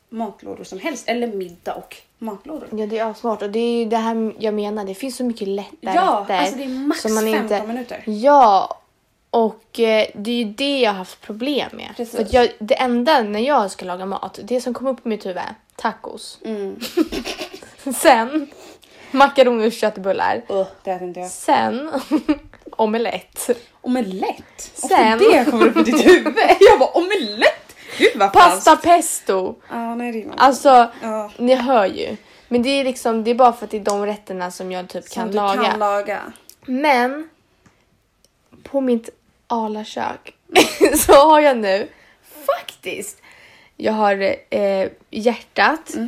S1: matlådor som helst eller middag och matlådor.
S2: Ja, det är smart. Och det är ju det här jag menar. Det finns så mycket lätta
S1: Ja,
S2: rätter.
S1: alltså det är max
S2: som
S1: 15 minuter.
S2: Ja, och eh, det är ju det jag har haft problem med.
S1: Precis.
S2: För att jag, det enda när jag ska laga mat, det som kommer upp i mitt huvud är tacos.
S1: Mm.
S2: Sen makaroner och köttbullar.
S1: Uh, det äter inte jag.
S2: Sen omelett.
S1: Omelett?
S2: Sen-
S1: Varför det kommer upp i ditt huvud? Jag bara omelett? Gud vad
S2: Pasta
S1: falskt.
S2: pesto.
S1: Ja, nej det är något.
S2: Alltså,
S1: Ja.
S2: ni hör ju. Men det är liksom, det är bara för att det är de rätterna som jag typ
S1: Som
S2: kan
S1: du
S2: laga.
S1: kan laga.
S2: Men på mitt alakök så har jag nu faktiskt. Jag har eh, hjärtat,
S1: Mm.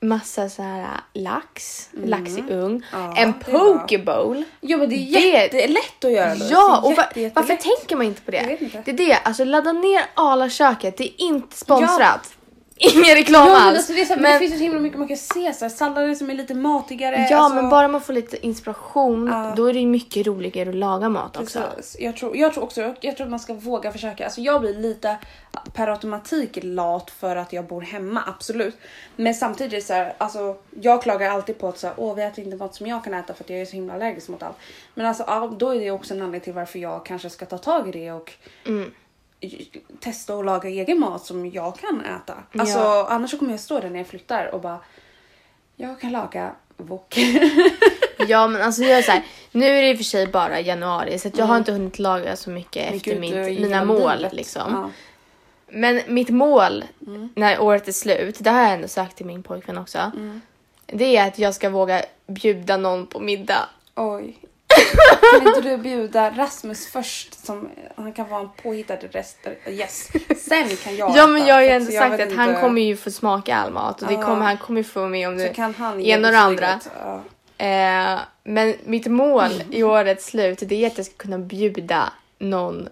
S2: massa så här eh, lax, lax i ung,
S1: Ja,
S2: en
S1: det är bra.
S2: pokebowl.
S1: Jo men det är
S2: Det-
S1: jättelätt att göra Louise.
S2: Ja, och va-
S1: Jätte, jättelätt.
S2: varför tänker man inte på det?
S1: Jag vet inte.
S2: Det är det, alltså ladda ner alaköket, det är inte sponsrat. Ingen reklam
S1: Ja men
S2: alls.
S1: alltså det, är så här, men...
S2: Men-
S1: det finns ju så himla mycket man kan se så här, sallader som är lite matigare.
S2: Ja
S1: alltså,
S2: men bara man får lite inspiration
S1: Ja.
S2: då är det ju mycket roligare att laga mat också.
S1: Precis. Jag tror, jag tror också jag tror att man ska våga försöka. Alltså jag blir lite per automatik lat för att jag bor hemma, absolut. Men samtidigt så här, alltså jag klagar alltid på att så här, åh vi äter inte mat som jag kan äta för att jag är så himla allergisk mot allt. Men alltså ja, då är det också en anledning till varför jag kanske ska ta tag i det och
S2: Mm.
S1: j- testa och laga egen mat som jag kan äta. Alltså
S2: Ja.
S1: annars så kommer jag stå där när jag flyttar och bara jag kan laga wok.
S2: Ja men alltså jag är så här, nu är det i och för sig bara januari så att jag har inte hunnit laga så mycket efter
S1: Mm. Gud, du är
S2: mitt,
S1: ju
S2: mina mål
S1: livet.
S2: liksom.
S1: Ja. Mm.
S2: Men mitt mål när året är slut, det har jag ändå sagt till min pojkvän också.
S1: Mm.
S2: Det är att jag ska våga bjuda någon på middag.
S1: Oj. Kan inte du bjuda Rasmus först? Som, han kan vara en påhittad rest, gäst. Sen kan jag
S2: Ja
S1: äta,
S2: men jag har ju
S1: så
S2: ändå
S1: jag
S2: sagt att
S1: vet
S2: han
S1: inte.
S2: kommer ju få smaka all mat och det
S1: Ja.
S2: kommer, han kommer ju få vara med om
S1: Så
S2: det
S1: kan han ge
S2: ena och det
S1: betyget.
S2: andra.
S1: Ja.
S2: Eh, men mitt mål
S1: Mm.
S2: i årets slut det är att jag ska kunna bjuda någon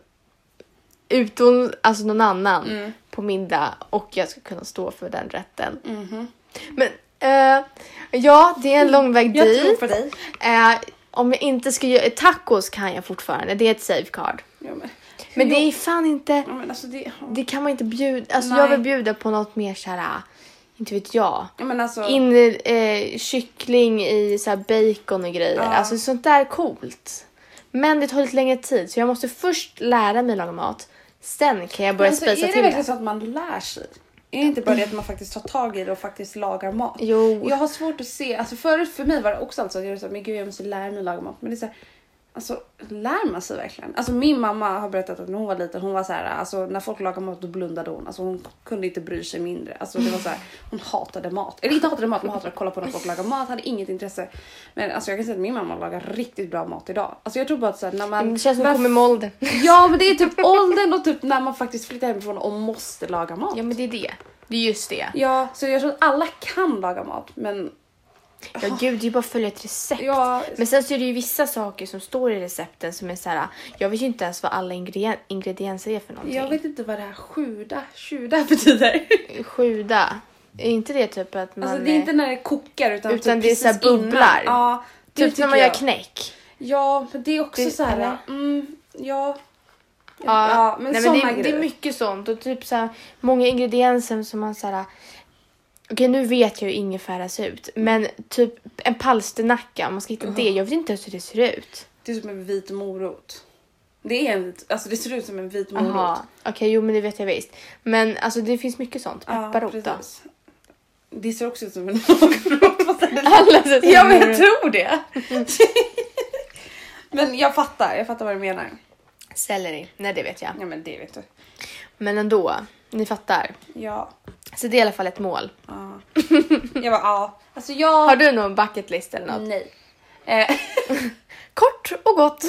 S2: utom, alltså någon annan
S1: Mm.
S2: på middag och jag ska kunna stå för den rätten.
S1: mhm.
S2: Men eh, ja, det är en lång väg
S1: Jag tror
S2: dit.
S1: på dig.
S2: Eh, om jag inte ska göra tacos kan jag fortfarande, det är ett safeguard.
S1: Ja, men,
S2: Men
S1: hur
S2: det
S1: jobb-
S2: är fan inte,
S1: ja, men alltså det...
S2: det kan man inte bjuda, alltså
S1: Nej.
S2: jag vill bjuda på något mer såhär, inte vet jag.
S1: Ja, men alltså,
S2: In eh, kyckling i så här bacon och grejer.
S1: Ja.
S2: Alltså sånt där är coolt. Men det tar lite längre tid så jag måste först lära mig laga mat. Sen kan jag börja
S1: alltså,
S2: spisa
S1: är det
S2: till
S1: verkligen
S2: det.
S1: så att man lär sig? Är det inte bara det att man faktiskt tar tag i det och faktiskt lagar mat?
S2: Jo.
S1: Jag har svårt att se, alltså förut för mig var det också alltså, jag var så här, men gud jag måste lära mig att laga mat. Men det är så här, alltså lär man sig verkligen? Alltså min mamma har berättat att när hon var liten, hon var så här, alltså när folk lagade mat då blundade hon. Alltså hon kunde inte bry sig mindre. Alltså det var så här, hon hatade mat. Eller inte hatade mat, men hatade att kolla på när folk lagade mat, hade inget intresse. Men alltså jag kan säga att min mamma lagar riktigt bra mat idag. Alltså jag tror bara att så här, när man...
S2: Det känns som
S1: Varför-
S2: att kommer med åldern.
S1: Ja men det är typ åldern och typ när man faktiskt flyttar hemifrån och måste laga mat.
S2: Ja men det är det. Det är just det.
S1: Ja, så jag tror att alla kan laga mat men
S2: Ja gud, det är ju bara att följa ett recept.
S1: Ja.
S2: Men sen så är det ju vissa saker som står i recepten som är så här. jag vet ju inte ens vad alla ingredien- ingredienser är för någonting.
S1: jag vet inte vad det här sjuda, tjuda betyder.
S2: Sjuda. Är inte det typ att man...
S1: Alltså det är inte när det kokar utan,
S2: Utan
S1: typ
S2: det är så här
S1: precis innan.
S2: bubblar.
S1: Ja, det
S2: Typ när
S1: tycker
S2: man gör
S1: jag.
S2: knäck.
S1: Ja, men det är också
S2: Det-
S1: så här.
S2: eller?
S1: Mm, ja.
S2: Ja,
S1: Ja, men
S2: men, Nej, men
S1: såna
S2: det, är- det
S1: grejer.
S2: är mycket sånt och typ så här, många ingredienser som man så här. Okej, nu vet jag ju ingefära ser ut, men typ en palsternacka, om man ska hitta det. Jag vet inte ens hur det ser ut.
S1: Det är som en vit morot. Det är en vit, alltså det ser ut som en vit morot.
S2: Jaha, okej, jo, men det vet jag visst. Men alltså, det finns mycket sånt.
S1: Ja,
S2: Pepparrot då.
S1: precis. Det ser också ut som en morot. fast den är
S2: Alla ser ut som
S1: Ja
S2: en
S1: men jag
S2: morot.
S1: tror det. men jag fattar, jag fattar vad du menar.
S2: Selleri. Nej, det vet jag.
S1: Ja men det vet du.
S2: Men ändå, ni fattar.
S1: Ja.
S2: Så det är i alla fall ett mål.
S1: ja. Jag bara ja. Alltså jag...
S2: Har du någon bucket list eller något?
S1: Nej. Eh,
S2: Mm. Kort och gott.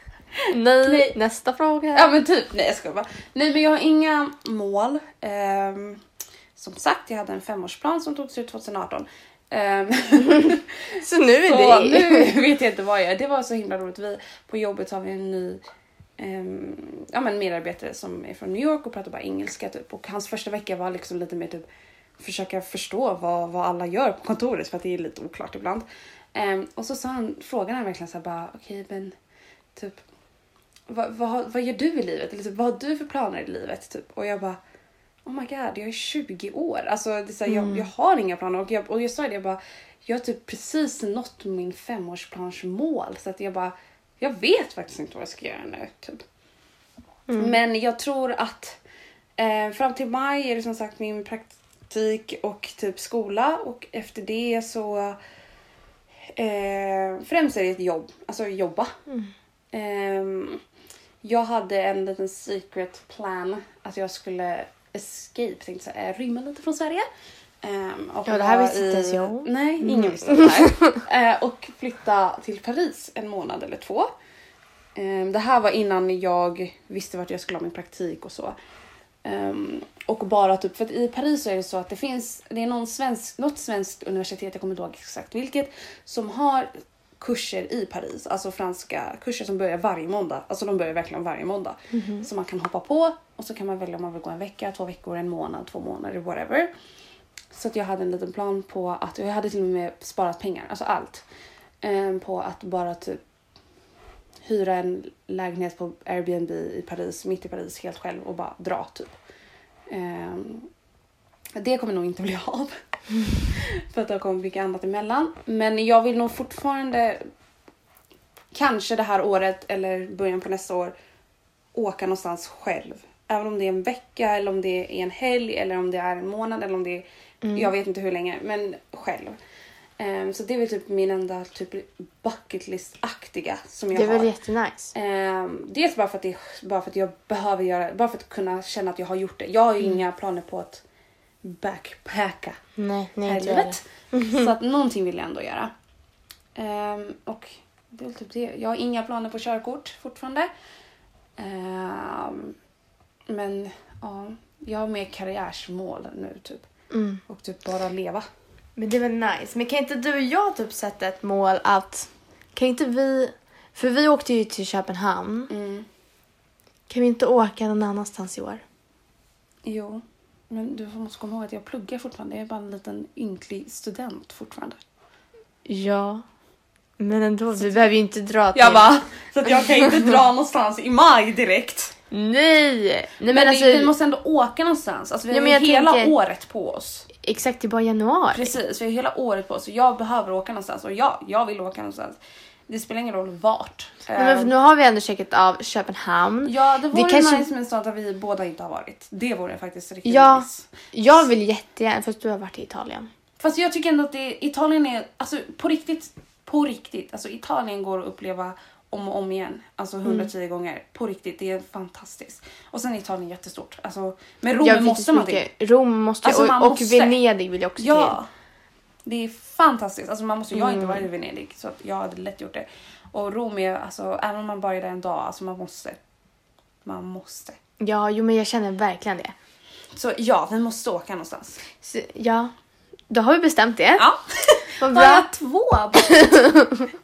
S2: Nej,
S1: Nej.
S2: nästa fråga.
S1: ja men typ, nej jag skojar bara. Nej men jag har inga mål. Ehm, som sagt, jag hade en femårsplan som togs ut 2018. Ehm,
S2: så nu är
S1: så
S2: det
S1: nu vet jag inte vad jag är. Det var så himla roligt. Vi, på jobbet har vi en ny ehm, ja, men medarbetare som är från New York och pratar bara engelska typ. Och hans första vecka var liksom lite mer typ försöka förstå vad, vad alla gör på kontoret för att det är lite oklart ibland. Ehm, och så sa han, frågan han verkligen så här bara okej men typ vad, vad, har- vad gör du i livet? Eller typ, vad har du för planer i livet? Typ. Och jag bara Oh my god, jag är 20 år. Alltså, det är så här, jag, jag har inga planer. Och jag, och jag sa det, jag bara, jag har typ precis nått min femårsplansmål. Så att jag bara, jag vet faktiskt inte vad jag ska göra nu. Typ.
S2: Mm.
S1: Men jag tror att eh, fram till maj är det som sagt min praktik och typ skola. Och efter det så Eh, främst är det ett jobb, alltså jobba.
S2: Mm.
S1: Ehm, jag hade en liten secret plan att jag skulle escape, tänkte jag säga, eh, rymma lite från Sverige. Ehm, och
S2: Ja, det här
S1: vara
S2: visste inte
S1: i-
S2: ens jag.
S1: Nej, ingen visste det här. Eh, och flytta till Paris en månad eller två. Ehm, det här var innan jag visste vart jag skulle ha min praktik och så. Ehm, och bara typ, för att i Paris så är det så att det finns, det är någon svensk, något svenskt universitet, jag kommer inte ihåg exakt vilket, som har kurser i Paris, alltså franska kurser som börjar varje måndag. Alltså de börjar verkligen varje måndag. Så man kan hoppa på och så kan man välja om man vill gå en vecka, två veckor, en månad, två månader, whatever. Så att jag hade en liten plan på att, jag hade till och med sparat pengar, alltså allt. Ehm, på att bara typ hyra en lägenhet på Airbnb i Paris, mitt i Paris, helt själv och bara dra typ. Ehm, det kommer nog inte bli av. För att det kommer mycket annat emellan. Men jag vill nog fortfarande, kanske det här året eller början på nästa år, åka någonstans själv. Även om det är en vecka eller om det är en helg eller om det är en månad eller om det är,
S2: Mm.
S1: jag vet inte hur länge, men själv. Ehm, så det är väl typ min enda typ bucket list-aktiga som jag
S2: Det är
S1: har.
S2: väl jättenice.
S1: Ehm, dels bara för, att det, bara för att jag behöver göra bara för att kunna känna att jag har gjort det. Jag har ju
S2: Mm.
S1: inga planer på att backpacka
S2: Nej, nej
S1: här i
S2: inte jag heller.
S1: livet. Så att någonting vill jag ändå göra. Ehm, och det är väl typ det. Jag har inga planer på körkort fortfarande. Ehm, men ja, jag har mer karriärsmål nu typ.
S2: Mm.
S1: Och typ bara leva.
S2: Men det var nice. Men kan inte du och jag typ sätta ett mål att... Kan inte vi... För vi åkte ju till Köpenhamn.
S1: Mm.
S2: Kan vi inte åka någon annanstans i år?
S1: Jo. Men du måste komma ihåg att jag pluggar fortfarande. Jag är bara en liten ynklig student fortfarande.
S2: Ja. Men ändå, vi behöver ju inte dra till...
S1: Jag bara, så att jag kan inte dra någonstans i maj direkt.
S2: Nej! Nej men,
S1: Men,
S2: alltså,
S1: vi, vi måste ändå åka någonstans. Alltså, vi
S2: Ja,
S1: har
S2: men
S1: ju
S2: jag
S1: hela
S2: tänker-
S1: året på oss.
S2: exakt det är bara januari.
S1: Precis, vi har hela året på oss. och Jag behöver åka någonstans och ja, jag vill åka någonstans. Det spelar ingen roll vart.
S2: Nej, men för
S1: Eh,
S2: nu har vi ändå checkat av Köpenhamn.
S1: Ja, det vore
S2: kanske-
S1: nice med en stad där vi båda inte har varit. Det vore faktiskt riktigt
S2: Ja.
S1: nice.
S2: Jag vill jättegärna, fast du har varit i Italien.
S1: Fast jag tycker ändå att det, Italien är, alltså på riktigt, på riktigt, alltså Italien går att uppleva om och om igen. Alltså 110 gånger. På riktigt, det är fantastiskt. Och sen är Italien jättestort. Alltså, men Rom
S2: jag fick
S1: måste man till.
S2: mycket- Rom måste
S1: Alltså,
S2: och,
S1: man
S2: och
S1: måste.
S2: Venedig vill jag också
S1: Ja. Det är fantastiskt. Alltså man måste, jag har inte varit i Venedig så att jag hade lätt gjort det. Och Rom är, alltså, även om man bara är där en dag, alltså man måste. Man måste.
S2: till. Ja, jo men jag känner verkligen det.
S1: Så ja, vi måste åka någonstans.
S2: Så, ja, då har vi bestämt det.
S1: Ja.
S2: Vad
S1: Bara
S2: bra.
S1: två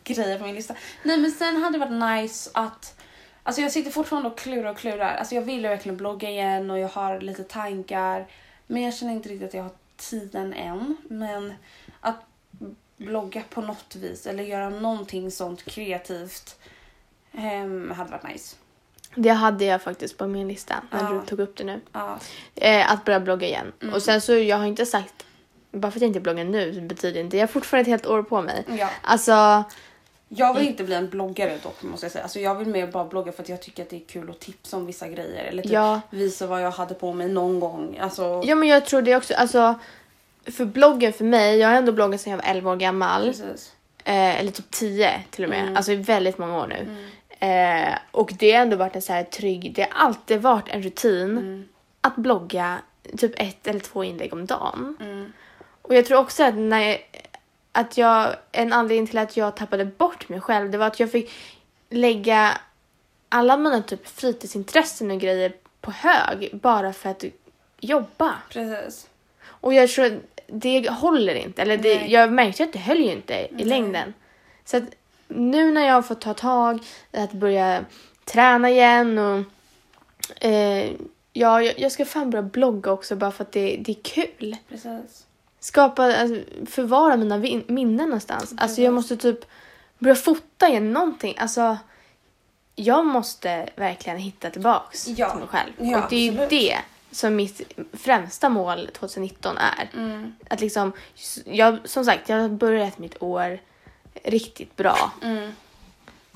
S1: grejer på min lista. Nej men sen hade det varit nice att Alltså jag sitter fortfarande och klurar och klurar. Alltså jag vill ju verkligen blogga igen och jag har lite tankar. Men jag känner inte riktigt att jag har tiden än. Men att blogga på något vis eller göra någonting sånt kreativt ehm, hade varit nice.
S2: Det hade jag faktiskt på min lista när
S1: Ja.
S2: du tog upp det nu.
S1: Ja.
S2: Eh, att börja blogga igen. Och sen så, jag har inte sagt, bara för att jag inte bloggar nu betyder inte, jag har fortfarande ett helt år på mig.
S1: Ja.
S2: Alltså,
S1: Jag vill inte bli en bloggare dock måste jag säga. Alltså jag vill mer bara blogga för att jag tycker att det är kul att tipsa om vissa grejer. Eller typ
S2: Ja.
S1: visa vad jag hade på mig någon gång. Alltså,
S2: ja men jag tror det också, alltså för bloggen för mig, jag har ändå bloggat sedan jag var 11 år gammal.
S1: precis.
S2: Eh, eller typ 10 till och med. Alltså i väldigt många år nu. Eh, och det har ändå varit en så här trygg, det har alltid varit en rutin att blogga typ ett eller två inlägg om dagen.
S1: Mm,
S2: Och jag tror också att när jag, att jag, en anledning till att jag tappade bort mig själv det var att jag fick lägga alla mina typ fritidsintressen och grejer på hög bara för att jobba.
S1: precis.
S2: Och jag tror att det håller inte. Eller det,
S1: Nej.
S2: jag märkte att det höll ju inte i längden. Så att nu när jag har fått ta tag i att börja träna igen och eh, ja, jag, jag ska fan börja blogga också bara för att det, det är kul.
S1: precis.
S2: Skapa, alltså, förvara mina vin- minnen
S1: Mm,
S2: någonstans. Alltså jag måste typ börja fota igen någonting. Alltså jag måste verkligen hitta tillbaks
S1: Ja.
S2: till mig själv.
S1: Ja,
S2: och det är ju
S1: absolut.
S2: det som mitt främsta mål 2019 är.
S1: Mm,
S2: Att liksom, jag, som sagt, jag har börjat mitt år riktigt bra.
S1: Mm.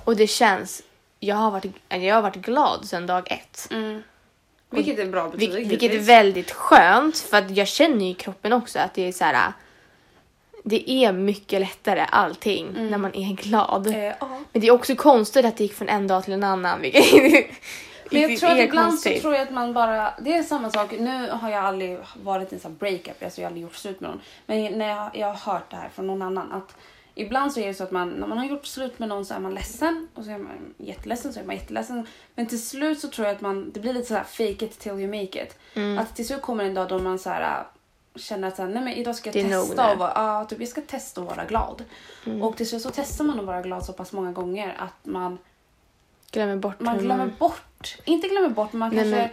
S2: Och det känns, jag har varit, jag har varit glad sedan dag ett.
S1: Mm. Vilket är bra betyg.
S2: Vil, vilket är
S1: givetvis.
S2: väldigt skönt för att jag känner ju i kroppen också att det är så här. Det är mycket lättare allting när man är glad.
S1: Mm. Eh, ja.
S2: Men det är också konstigt att det gick från en dag till en annan. Vilket
S1: Men jag
S2: vilket
S1: tror att
S2: är
S1: ibland så
S2: konstigt.
S1: tror jag att man bara, det är samma sak, nu har jag aldrig varit i en sån här breakup, alltså jag har aldrig gjort slut med någon. Men när jag, jag har hört det här från någon annan att ibland så är det så att man, när man har gjort slut med någon så är man ledsen och så är man jätteledsen så är man jätteledsen. Men till slut så tror jag att man, det blir lite så här fake it till you make it.
S2: Mm.
S1: Att till slut kommer en dag då man så här äh, känner att så här, nej men idag ska jag
S2: Det Mm. är nog
S1: testa
S2: nu.
S1: och vara, ja, typ, jag ska testa att vara glad. Och till slut så testar man att vara glad så pass många gånger att man
S2: glömmer bort
S1: man
S2: hur
S1: glömmer bort, inte glömmer bort, men man
S2: Nej,
S1: kanske
S2: men-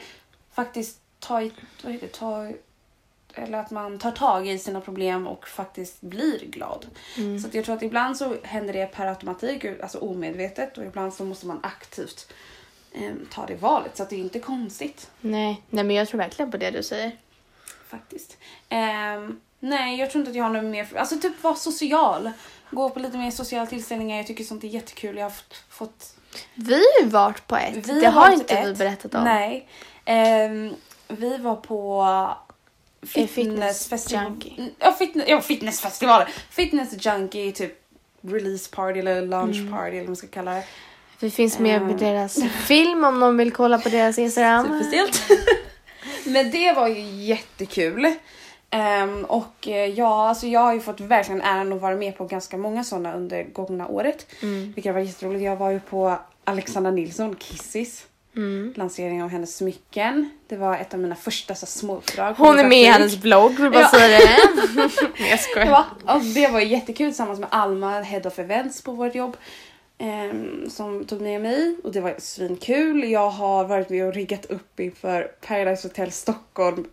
S1: faktiskt tar, i- vad heter det, tar, eller att man tar tag i sina problem och faktiskt blir glad.
S2: mm.
S1: Så att jag tror att ibland så händer det per automatik, alltså omedvetet och ibland så måste man aktivt eh, ta det valet. Så att det är inte konstigt
S2: Nej, nej, men jag tror verkligen på det du säger.
S1: faktiskt. Ehm, nej, jag tror inte att jag har något mer, alltså typ vara social. Gå på lite mer sociala tillställningar, jag tycker sånt är jättekul. Jag har fått, fått
S2: Vi har ju varit på ett.
S1: Vi
S2: det har
S1: varit
S2: inte vi
S1: ett-
S2: berättat om.
S1: Nej. Ehm, vi var på
S2: Fitness
S1: fitnessfestival. Mm,
S2: Junkie.
S1: Ja, fitness, ja, fitnessfestivaler. Fitness junkie, typ release party eller launch
S2: Mm.
S1: party eller vad man ska kalla det.
S2: Vi finns med
S1: Eh.
S2: på deras film om någon vill kolla på deras Instagram.
S1: Superstelt. Men det var ju jättekul. Ehm, och eh, ja, alltså jag har ju fått verkligen äran att vara med på ganska många sådana under gångna året.
S2: Mm.
S1: Vilket var jätteroligt. Jag var ju på Alexandra Nilsson, Kissis.
S2: Mm.
S1: Lansering av hennes smycken. Det var ett av mina första så, här, små uppdrag. på
S2: Hon
S1: min
S2: är med i
S1: praktik.
S2: hennes blogg, vill bara
S1: Ja.
S2: säga det. Nej, jag skojar.
S1: Ja, och det var jättekul tillsammans med Alma, Head of Events på vårt jobb. ehm, som tog med mig och det var svinkul. Jag har varit med och riggat upp inför Paradise Hotel Stockholm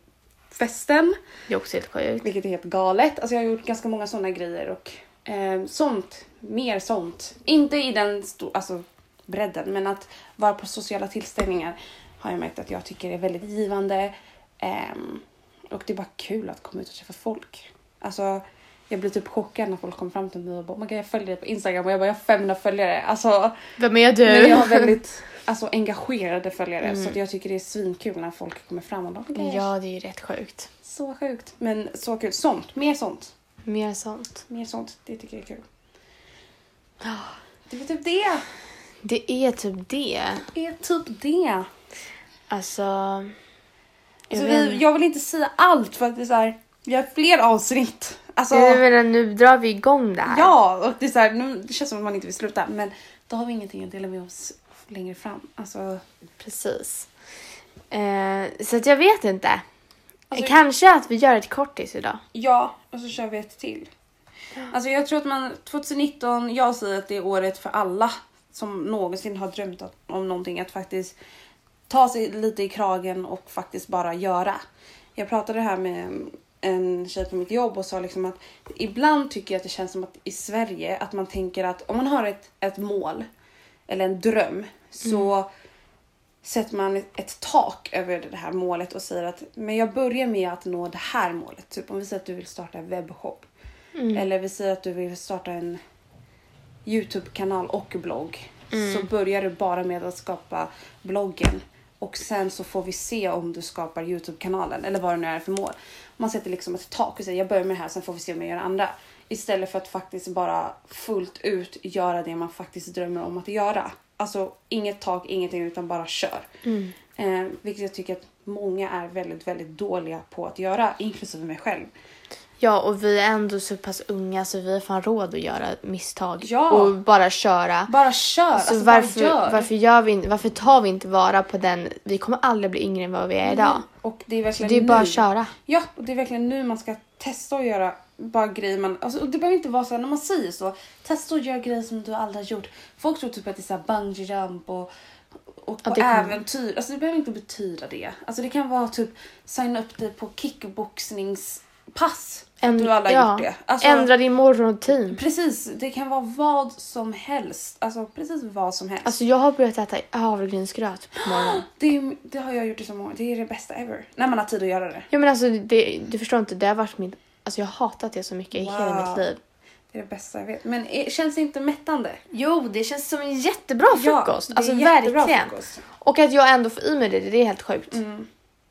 S1: festen.
S2: Det är också helt sjukt.
S1: Vilket är helt galet. Alltså jag har gjort ganska många sådana grejer och ehm, sånt. Mer sånt. Inte i den stor, alltså, bredden men att vara på sociala tillställningar har jag märkt att jag tycker är väldigt givande. Ehm, och det är bara kul att komma ut och träffa folk. Alltså Jag blir typ chockad när folk kommer fram till mig och bara, man kan jag följer dig på Instagram och jag bara, jag har 500 följare. Alltså,
S2: Vem är du?
S1: men jag har väldigt alltså, engagerade följare så att jag tycker det är svinkul när folk kommer fram och bara, "Oh my gosh,
S2: Ja, det är ju rätt sjukt.
S1: så sjukt. Men så kul. Sånt, mer sånt.
S2: Mer sånt.
S1: Mer sånt, det tycker jag är kul. Det är typ det.
S2: Det är typ det.
S1: Det är typ det.
S2: Alltså... Jag,
S1: Alltså,
S2: vet-
S1: vi, jag vill inte säga allt för att det är så här, vi har fler avsnitt. Alltså,
S2: jag menar, nu drar vi igång det här.
S1: ja, och det är så här, nu det känns som att man inte vill sluta men då har vi ingenting att dela med oss längre fram. Alltså,
S2: Precis. Eh, så att jag vet inte.
S1: Alltså-
S2: Kanske att vi gör ett kortis idag.
S1: ja, och så kör vi ett till. Alltså jag tror att man 2019, jag säger att det är året för alla som någonsin har drömt att- om någonting att faktiskt ta sig lite i kragen och faktiskt bara göra. Jag pratade här med en tjej på mitt jobb och sa liksom att ibland tycker jag att det känns som att i Sverige att man tänker att om man har ett, ett mål eller en dröm så sätter man ett tak över det här målet och säger att men jag börjar med att nå det här målet. Typ om vi säger att du vill starta en webbshop eller vi säger att du vill starta en Youtube-kanal och blogg.
S2: Mm.
S1: Så börjar du bara med att skapa bloggen och sen så får vi se om du skapar Youtube-kanalen eller vad det nu är för mål. Man sätter liksom ett tak och säger jag börjar med det här sen får vi se om jag gör det andra. Istället för att faktiskt bara fullt ut göra det man faktiskt drömmer om att göra. Alltså inget tak, ingenting utan bara kör.
S2: Mm.
S1: Eh, vilket jag tycker att många är väldigt, väldigt dåliga på att göra, inklusive mig själv.
S2: Ja, och vi är ändå så pass unga så vi har fan råd att göra misstag.
S1: Ja.
S2: Och bara köra.
S1: Bara kör!
S2: så
S1: Alltså,
S2: varför,
S1: bara gör.
S2: varför, gör vi, inte- varför tar vi inte vara på den... Vi kommer aldrig bli yngre än vad vi är idag.
S1: Mm. Och det är
S2: Så
S1: verkligen
S2: det är bara
S1: nu.
S2: att köra.
S1: Ja, och det är verkligen nu man ska testa att göra bara grejer man... Alltså, och det behöver inte vara så här, när man säger så. Testa att göra grejer som du aldrig har gjort. Folk tror typ att det är så här bungee jump och, och på
S2: det kan-
S1: äventyr. Alltså det behöver inte betyda det. Alltså det kan vara typ signa upp dig på kickboxningspass. Änd... Du aldrig har
S2: Mm, ja.
S1: gjort det. Alltså,
S2: Ändra din morgonrutin.
S1: Precis, det kan vara vad som helst. Alltså precis vad som helst.
S2: Alltså jag har börjat äta havregrynsgröt på morgonen.
S1: det, är, det har jag gjort i så många Det är det bästa ever. När man har tid att göra det.
S2: Ja men alltså det, du förstår inte, det har varit mitt... Alltså jag har hatat det så mycket i hela
S1: Wow.
S2: mitt liv.
S1: Det är det bästa jag vet. Men eh, känns det inte mättande?
S2: Jo, det känns som en jättebra frukost.
S1: det är
S2: alltså
S1: jättebra
S2: verkligen.
S1: frukost.
S2: Och att jag ändå får i mig det, det är helt sjukt.
S1: Mm.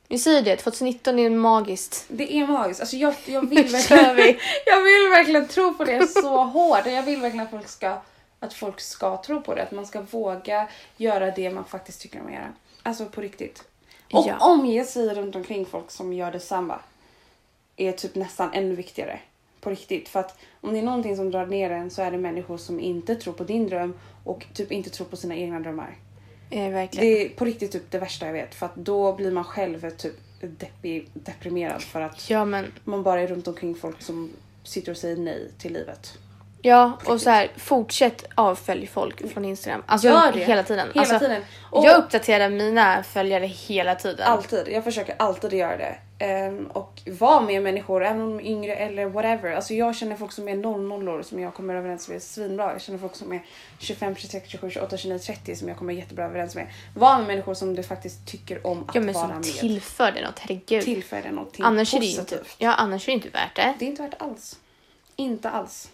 S2: Ni säger det, 2019 är magiskt.
S1: Det är magiskt. Alltså jag, jag,
S2: Nu
S1: vill
S2: kör
S1: verkligen,
S2: vi.
S1: jag vill verkligen tro på det så hårt. Jag vill verkligen att folk, ska, att folk ska tro på det. Att man ska våga göra det man faktiskt tycker om att göra. Alltså på riktigt. Och
S2: Ja.
S1: omge sig runt omkring folk som gör detsamma. Är typ nästan ännu viktigare. På riktigt. För att om det är någonting som drar ner en så är det människor som inte tror på din dröm och typ inte tror på sina egna drömmar.
S2: Är verkligen.
S1: Det är på riktigt typ det värsta jag vet för att då blir man själv typ deppig, deprimerad för att
S2: Ja men,
S1: man bara är runt omkring folk som sitter och säger nej till livet.
S2: ja och så här, fortsätt avfölj folk från Instagram. Alltså
S1: Gör det.
S2: hela tiden.
S1: Hela
S2: alltså,
S1: tiden. Och-
S2: Jag uppdaterar mina följare hela tiden.
S1: Alltid, jag försöker alltid göra det. Ehm, och vara med människor, även om de är yngre eller whatever. Alltså jag känner folk som är 00 som jag kommer överens med svinbra. Jag känner folk som är 25, 26, 27, 28, 29, 30 som jag kommer jättebra överens med. Var med människor som du faktiskt tycker om att
S2: ja men
S1: vara
S2: som
S1: med.
S2: tillför det något, herregud.
S1: Tillför det någonting
S2: annars, är det ju
S1: positivt.
S2: inte, typ. ja, annars är det inte värt det.
S1: det är inte värt alls. Inte alls.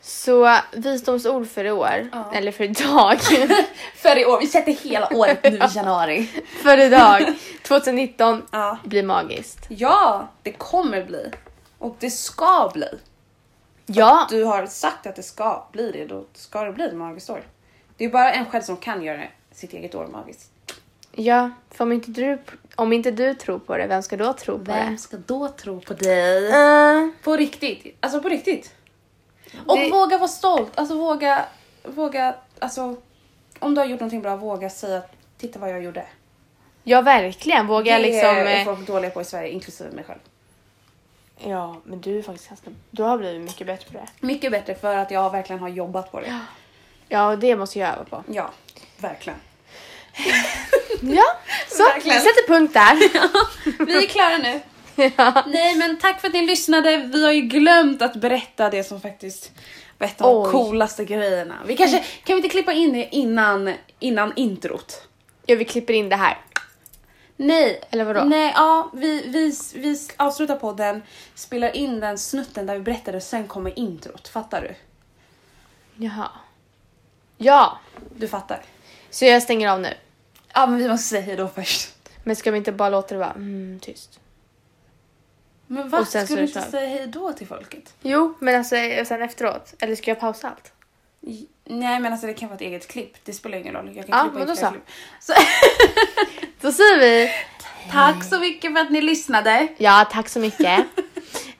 S2: Så visdomsord för i år, eller för idag.
S1: För i år. Vi sätter hela året nu i januari.
S2: för idag, 2019,
S1: Ja.
S2: blir magiskt.
S1: ja, det kommer bli. Och det ska bli.
S2: Ja,
S1: Du har sagt att det ska bli det, då ska det bli ett magiskt år. Det är bara en själv som kan göra sitt eget år magiskt.
S2: Ja, för om inte du, om inte du tror på det, vem ska då tro på det?
S1: ska då tro på dig?
S2: Eh,
S1: På riktigt. Alltså på riktigt. Och
S2: Det-
S1: våga vara stolt. Alltså våga, våga, alltså om du har gjort någonting bra, våga säga att titta vad jag gjorde.
S2: ja, verkligen. Vågar jag
S1: det
S2: liksom...
S1: är
S2: eh,
S1: folk dåliga på i Sverige, inklusive mig själv.
S2: Ja, men du är faktiskt ganska... Du har blivit mycket bättre på det.
S1: Mycket bättre för att jag verkligen har jobbat på det.
S2: Ja, och det måste jag öva på.
S1: Ja, verkligen.
S2: Ja, så
S1: Verkligen.
S2: vi sätter punkt där.
S1: Vi är klara nu. Nej men tack för att ni lyssnade. Vi har ju glömt att berätta det som faktiskt var ett av de
S2: Oj.
S1: coolaste grejerna. Vi kanske, kan vi inte klippa in det innan, innan introt?
S2: Ja, vi klipper in det här.
S1: Nej.
S2: Eller vadå?
S1: Nej, ja, vi, vi, vi avslutar podden, spelar in den snutten där vi berättade och sen kommer introt. Fattar du?
S2: Jaha. Ja,
S1: Du fattar.
S2: så jag stänger av nu.
S1: Ja, men vi måste säga hejdå först.
S2: Men ska vi inte bara låta det vara mm, tyst?
S1: Men va?
S2: Och sen
S1: Ska
S2: så
S1: du
S2: är det
S1: inte
S2: klart.
S1: säga hejdå till folket?
S2: Jo, men alltså sen efteråt. Eller ska jag pausa allt?
S1: J- Nej, men alltså det kan vara ett eget klipp. Det spelar ingen roll. Jag kan
S2: Ja,
S1: klippa
S2: men
S1: in
S2: då
S1: fler
S2: så.
S1: klipp. så.
S2: Då säger vi
S1: Tack
S2: Mm.
S1: så mycket för att ni lyssnade.
S2: ja, tack så mycket.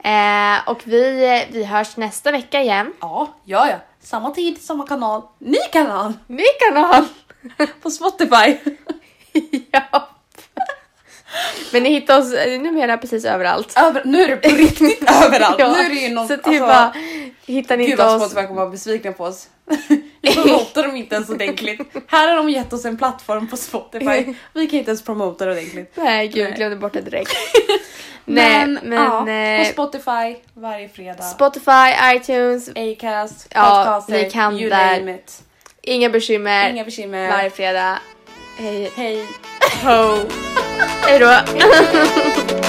S2: eh, och vi, vi hörs nästa vecka igen.
S1: Ja, ja, ja. Samma tid, samma kanal. Ny kanal
S2: Ny kanal!
S1: på Spotify.
S2: ja. Men ni hittar oss eh, numera precis överallt.
S1: Över, nu är det på riktigt överallt.
S2: Ja,
S1: Nu är det ju någon, alltså,
S2: så det alltså, är bara, hittar ni
S1: Gud
S2: inte
S1: vad
S2: oss.
S1: Spotify kommer vara besvikna på oss. Vi promotar dem inte ens ordentligt. Här har de gett oss en plattform på Spotify. Vi kan inte ens promota det ordentligt.
S2: Nej gud,
S1: Nej.
S2: glömde bort det direkt. Nej, men,
S1: ja,
S2: eh,
S1: på Spotify varje fredag.
S2: Spotify, iTunes,
S1: Acast,
S2: Ja,
S1: podcaster,
S2: vi kan
S1: you
S2: där.
S1: name it.
S2: inga bekymmer.
S1: Inga bekymmer.
S2: Varje fredag. Hej
S1: Hej.
S2: ho! Hej då!